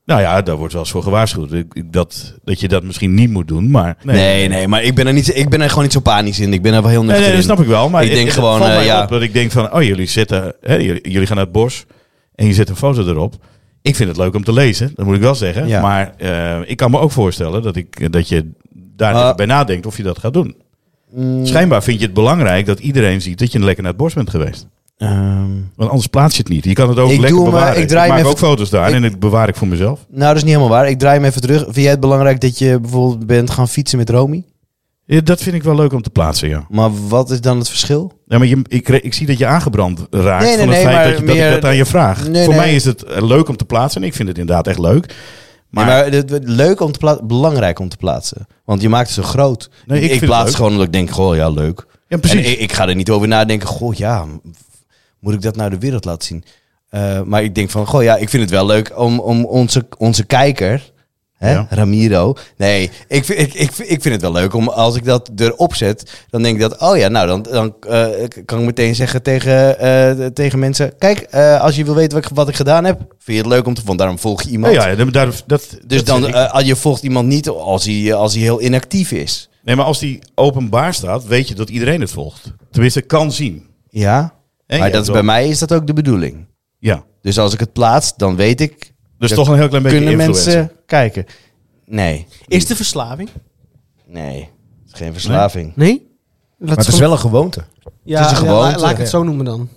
D: Nou ja, daar wordt wel eens voor gewaarschuwd. Ik- ik- Dat, dat je dat misschien niet moet doen, maar...
C: Nee, nee, maar ik ben, er niet, ik ben er gewoon niet zo panisch in. Ik ben er wel heel
D: Nee,
C: nuchter
D: nee, dat
C: in.
D: snap ik wel. Maar
C: Ik
D: het-
C: denk
D: het
C: gewoon,
D: valt
C: eh,
D: mij
C: ja.
D: op dat ik denk van, oh, jullie zitten, hè, jullie, jullie gaan naar het bos en je zet een foto erop. Ik vind het leuk om te lezen, dat moet ik wel zeggen.
C: Ja.
D: Maar eh, ik kan me ook voorstellen dat, ik, eh, dat je daar
C: Ah.
D: even bij nadenkt of je dat gaat doen.
C: Mm.
D: Schijnbaar vind je het belangrijk dat iedereen ziet dat je lekker naar het bos bent geweest.
C: Ehm,
D: Want anders plaats je het niet. Je kan het ook
C: Ik
D: lekker
C: doe hem, eh,
D: bewaren.
C: ik
D: Ik,
C: draai hem
D: maak
C: even-
D: ook foto's daar
C: ik-
D: en dat bewaar ik voor mezelf.
C: nou, dat is niet helemaal waar. Ik draai hem even terug. Vind jij het belangrijk dat je bijvoorbeeld bent gaan fietsen met Romy?
D: Ja, dat vind ik wel leuk om te plaatsen, ja.
C: Maar wat is dan het verschil?
D: Ja, maar je, ik, ik zie dat je aangebrand raakt
C: Nee, nee,
D: van het
C: nee,
D: feit
C: maar
D: dat, je, dat
C: meer-
D: ik dat aan je vraag.
C: Nee,
D: Voor
C: nee.
D: mij is het eh, leuk om te plaatsen en ik vind het inderdaad echt leuk.
C: Maar,
D: Maar-
C: maar het, het- leuk om te plaatsen, belangrijk om te plaatsen. Want je maakt het zo groot.
D: Nee, ik
C: ik
D: vind het
C: plaats
D: leuk.
C: gewoon omdat ik denk, goh, ja, leuk.
D: Ja, precies.
C: En ik, ik ga er niet over nadenken, goh, ja, m- moet ik dat nou de wereld laten zien? Eh, maar ik denk van, goh, ja, ik vind het wel leuk om, om onze, onze kijker, Hè?
D: Ja.
C: Ramiro. Nee, ik, vind- ik, ik, ik vind het wel leuk om als ik dat erop zet, dan denk ik dat, oh ja, nou dan, dan eh, kan ik meteen zeggen tegen, eh, tegen mensen: Kijk, eh, als je wil weten wat ik, wat ik gedaan heb, vind je het leuk om te, want daarom volg je iemand.
D: Oh Ja, ja, daar- daar- dat,
C: Dus
D: dat
C: dan,
D: vind ik-
C: eh, je volgt iemand niet als hij, eh, als hij heel inactief is.
D: nee, maar als die openbaar staat, weet je dat iedereen het volgt. Tenminste, kan zien.
C: Ja.
D: En
C: maar dat is,
D: je hebt
C: bij
D: wel-
C: mij is dat ook de bedoeling.
D: Ja.
C: Dus als ik het plaats, dan weet ik.
D: Dus
C: dat
D: toch een heel klein beetje
C: Kunnen
D: influencer.
C: mensen kijken? Nee.
B: Is de verslaving?
C: Nee. Het is geen verslaving.
B: Nee? Dat
A: Maar het is wel een gewoonte.
B: ja,
C: het is een
B: ja, la-
C: gewoonte,
B: laat ik het
A: ja.
B: zo noemen dan.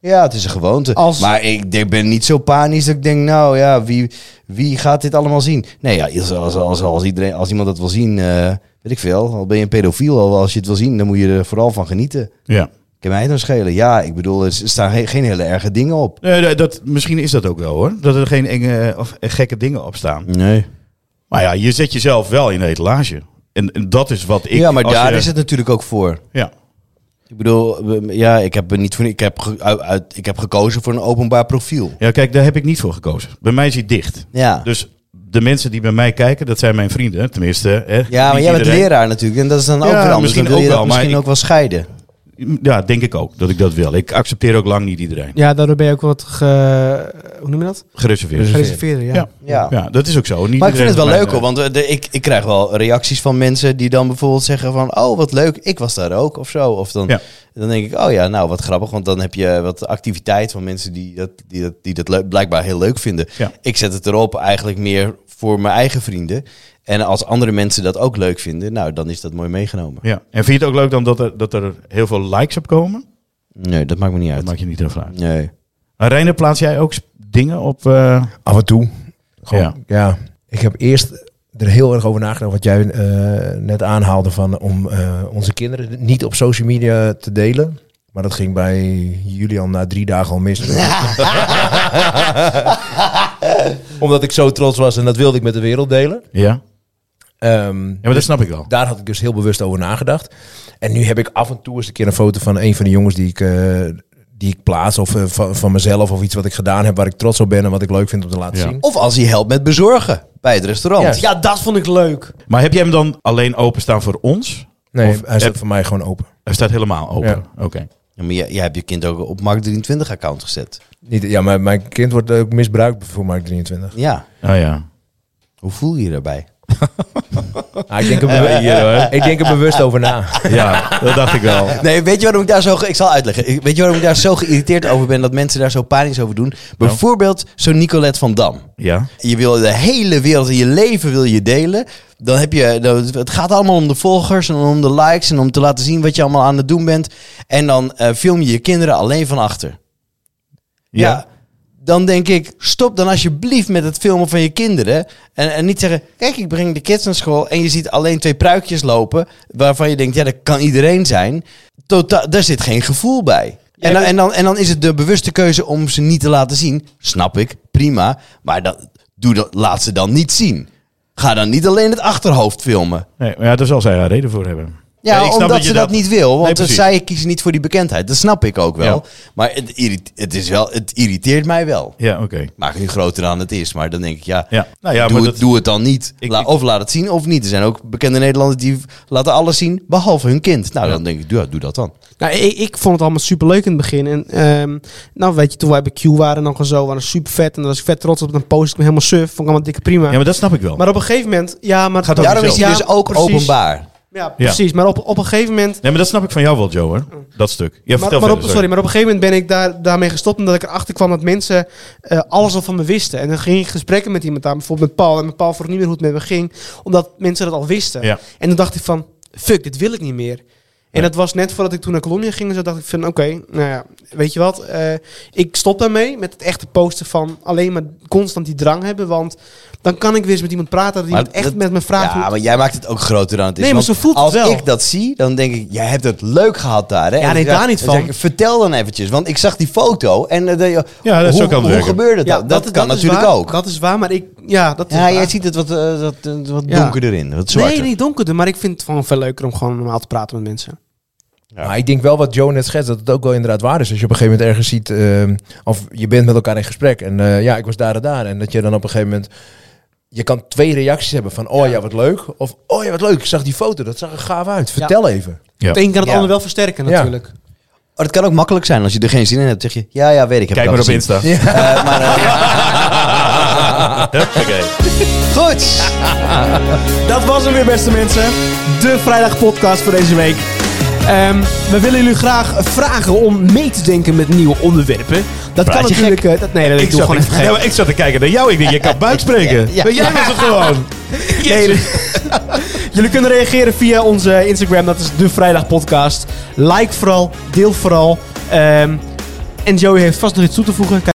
C: Ja, het is een gewoonte.
B: Als-
C: Maar ik denk- ben niet zo panisch dat ik denk, nou ja, wie, wie gaat dit allemaal zien? Nee, ja, als, als, als, als iedereen, als iemand dat wil zien, eh, weet ik veel. Al ben je een pedofiel, al als je het wil zien, dan moet je er vooral van genieten.
D: Ja.
C: Kan mij het nou schelen? Ja, ik bedoel, er staan geen, geen hele erge dingen op.
D: Nee, dat- dat, misschien is dat ook wel hoor. Dat er geen enge eh, of gekke dingen op staan.
C: Nee.
D: Maar ja, je zet jezelf wel in de etalage. En, en dat is wat ik.
C: ja, maar
D: als
C: daar
D: je-
C: is het natuurlijk ook voor.
D: Ja.
C: Ik bedoel, we- ja, ik heb, er niet voor, ik, heb ge- uit, uit- ik heb gekozen voor een openbaar profiel.
D: ja, kijk, daar heb ik niet voor gekozen. Bij mij is hij dicht.
C: Ja,
D: Dus de mensen die bij mij kijken, dat zijn mijn vrienden. Tenminste, hè,
C: ja maar
D: niet
C: jij bent
D: iedereen.
C: leraar natuurlijk. En dat is dan ook
D: Ja,
C: weer anders.
D: misschien
C: dan wil
D: ook
C: je dat
D: wel, maar
C: misschien
D: ik-
C: ook wel scheiden.
D: Ja, denk ik ook dat ik dat wil. Ik accepteer ook lang niet iedereen.
B: Ja, daardoor ben je ook wat ge... Hoe noem je dat?
D: Gereserveerd.
B: Gereserveerder, ja.
D: Ja.
C: Ja.
D: Ja, dat is ook zo. Niet
C: Maar ik vind het
D: iedereen
C: wel
D: is
C: leuk hoor,
D: mijn-
C: want eh, de, ik, ik krijg wel reacties van mensen die dan bijvoorbeeld zeggen van... Oh, wat leuk, ik was daar ook of zo. Of dan,
D: Ja.
C: dan denk ik, oh ja, nou wat grappig. Want dan heb je wat activiteit van mensen die dat, die dat, die dat leuk- blijkbaar heel leuk vinden.
D: Ja.
C: Ik zet het erop eigenlijk meer voor mijn eigen vrienden. En als andere mensen dat ook leuk vinden, nou dan is dat mooi meegenomen.
D: Ja. En vind je het ook leuk dan dat er, dat er heel veel likes op komen?
C: Nee, dat maakt me niet
D: Dat
C: uit.
D: maakt je niet heel veel uit.
C: Nee.
D: Maar Reiner, plaats jij ook sp- dingen op... eh,
A: Af en toe. Gewoon,
D: Ja.
A: ja. Ik heb eerst er heel erg over nagedacht wat jij eh, net aanhaalde van om eh, onze kinderen niet op social media te delen. Maar dat ging bij Julian na drie dagen al mis. Omdat ik zo trots was en dat wilde ik met de wereld delen.
D: ja? ja,
A: Ehm,
D: maar dat snap ik wel.
A: daar had ik dus heel bewust over nagedacht. En nu heb ik af en toe eens een keer een foto van een van de jongens die ik, eh, die ik plaats. Of eh, van, van mezelf of iets wat ik gedaan heb waar ik trots op ben en wat ik leuk vind om te laten
D: Ja.
A: zien.
C: Of als hij helpt met bezorgen bij het restaurant.
A: Ja.
B: Ja, dat vond ik leuk.
D: Maar heb jij hem dan alleen openstaan voor ons?
A: Nee,
D: Of
A: hij
D: app-
A: staat voor mij gewoon open.
D: Hij staat helemaal open. Oké.
C: Ja, maar jij, jij hebt je kind ook op Markt23 account gezet.
A: Niet, ja, maar mijn kind wordt ook misbruikt voor Mark 23.
C: Ja,
D: Oh ja.
C: hoe voel je je daarbij?
A: Ah, ik, denk er bewust, ik denk er bewust over na.
D: Ja, dat dacht ik wel.
C: Nee, weet je waarom ik daar zo... ge- Ik zal uitleggen. Ik- Weet je waarom ik daar zo geïrriteerd over ben dat mensen daar zo panisch over doen? Bijvoorbeeld zo'n Nicolette van Dam.
D: Ja.
C: Je wil de hele wereld in je leven wil je delen. Dan heb je, dan- het gaat allemaal om de volgers en om de likes en om te laten zien wat je allemaal aan het doen bent. En dan eh, film je je kinderen alleen van achter. Ja.
D: Ja.
C: Dan denk ik, stop dan alsjeblieft met het filmen van je kinderen. En, en niet zeggen, kijk, ik breng de kids naar school. En je ziet alleen twee pruikjes lopen. Waarvan je denkt, ja, dat kan iedereen zijn. Totaal, daar zit geen gevoel bij. En dan, en, dan, en dan is het de bewuste keuze om ze niet te laten zien. Snap ik, prima. Maar dan, doe dat, laat ze dan niet zien. Ga dan niet alleen het achterhoofd filmen.
D: Nee, maar ja, daar zal zij haar reden voor hebben.
C: Ja,
D: ik snap
C: omdat
D: dat je
C: ze dat,
D: dat-
C: niet wil.
D: Nee,
C: Want
D: precies.
C: zij kiezen niet voor die bekendheid. Dat snap ik ook wel.
D: Ja.
C: Maar het, irrit- het, is wel, het irriteert mij wel.
D: Ja, oké.
C: Maak het nu groter dan het is. Maar dan denk ik, ja,
D: Ja. Nou ja,
C: doe,
D: maar
C: het,
D: dat-
C: doe het dan niet.
D: Ik-
C: La-
D: ik-
C: of laat het zien of niet. Er zijn ook bekende Nederlanders die v- laten alles zien, behalve hun kind. Nou, dan denk ik, doe, doe dat dan.
B: Nou, ik, ik vond het allemaal super leuk in het begin. En ehm, nou, weet je, toen wij bij Q waren, dan gewoon zo, waren we super vet. En dan was ik vet trots op. Dan post ik me helemaal surf. Vond ik allemaal dikke prima.
D: Ja, maar dat snap ik wel.
B: maar op een gegeven moment, ja, maar
D: Gaat
B: dat-
D: ook
C: Daarom is hij
B: ja,
C: dus ook
B: precies.
C: openbaar.
B: Ja, precies. Maar op, op een gegeven moment.
D: Nee, maar dat snap ik van jou wel, Joe, hoor. Dat stuk. Ja,
B: Maar,
D: vertel
B: maar op,
D: verder,
B: sorry, maar op een gegeven moment ben ik daar, daarmee gestopt. Omdat ik erachter kwam dat mensen eh, alles al van me wisten. En dan ging ik gesprekken met iemand aan, bijvoorbeeld met Paul. En met Paul vroeg niet meer hoe het met me ging. Omdat mensen dat al wisten.
D: Ja.
B: En dan dacht ik van, fuck, dit wil ik niet meer. En dat was net voordat ik toen naar Colombia ging. En zo dacht ik van, oké, nou ja, weet je wat? eh, ik stop daarmee met het echte posten van alleen maar constant die drang hebben. Want dan kan ik weer eens met iemand praten die
C: Maar
B: het echt
C: dat-
B: met me vraagt. hoe
C: Ja,
B: het-
C: maar jij maakt het ook groter dan het is.
B: Nee, maar
C: Want
B: zo voelt het
C: als
B: wel.
C: ik dat zie, dan denk ik, jij hebt het leuk gehad daar. Hè?
B: Ja,
C: En
B: nee,
C: ik-
B: daar niet
C: dan
B: van.
C: zeg ik, vertel dan eventjes, want ik zag die foto en eh, de-
D: Ja, dat is
C: hoe,
D: ook aan het
C: hoe
D: werken.
C: gebeurde dat?
B: Ja,
C: dat, kan
B: is
C: natuurlijk
B: waar,
C: ook.
B: Dat is waar, maar ik... Ja, dat is
C: ja, jij
B: waar.
C: ziet het wat, eh, dat, eh, wat
B: Ja.
C: donkerder in, wat zwarter.
B: Nee, niet donkerder, maar ik vind het gewoon veel leuker om gewoon normaal te praten met mensen.
A: Maar ik denk wel wat Joe net schetst, dat het ook wel inderdaad waar is. Als je op een gegeven moment ergens ziet, ehm, of je bent met elkaar in gesprek. En eh, ja, ik was daar en daar. En dat je dan op een gegeven moment je kan twee reacties hebben van oh ja, wat leuk. Of oh ja, wat leuk. Ik zag die foto, dat zag er gaaf uit. Vertel even.
B: Het een kan het
C: Ja.
B: ander wel versterken
A: Ja.
B: natuurlijk.
C: Maar Oh, het kan ook makkelijk zijn als je er geen zin in hebt. Zeg je, ja, ja, weet ik. Heb
D: Kijk
C: het
D: maar
C: al
D: op Insta.
C: gezien. Eh, maar, eh,
D: Huppakee.
C: goed.
B: Dat was hem weer, beste mensen. De vrijdagpodcast voor deze week. Ehm, we willen jullie graag vragen om mee te denken met nieuwe onderwerpen. Dat kan
D: Praat je
B: natuurlijk. eh, dat, nee, dat ik doe
D: zat,
B: gewoon even
D: nee,
B: gek.
D: maar ik zat te kijken naar jou. Ik denk, je kan buitspreken.
C: Ja.
D: Maar jij was het gewoon.
B: Nee, dat- jullie kunnen reageren via onze Instagram. Dat is de vrijdagpodcast. Like vooral, deel vooral. Ehm, en Joey heeft vast nog iets toe te voegen.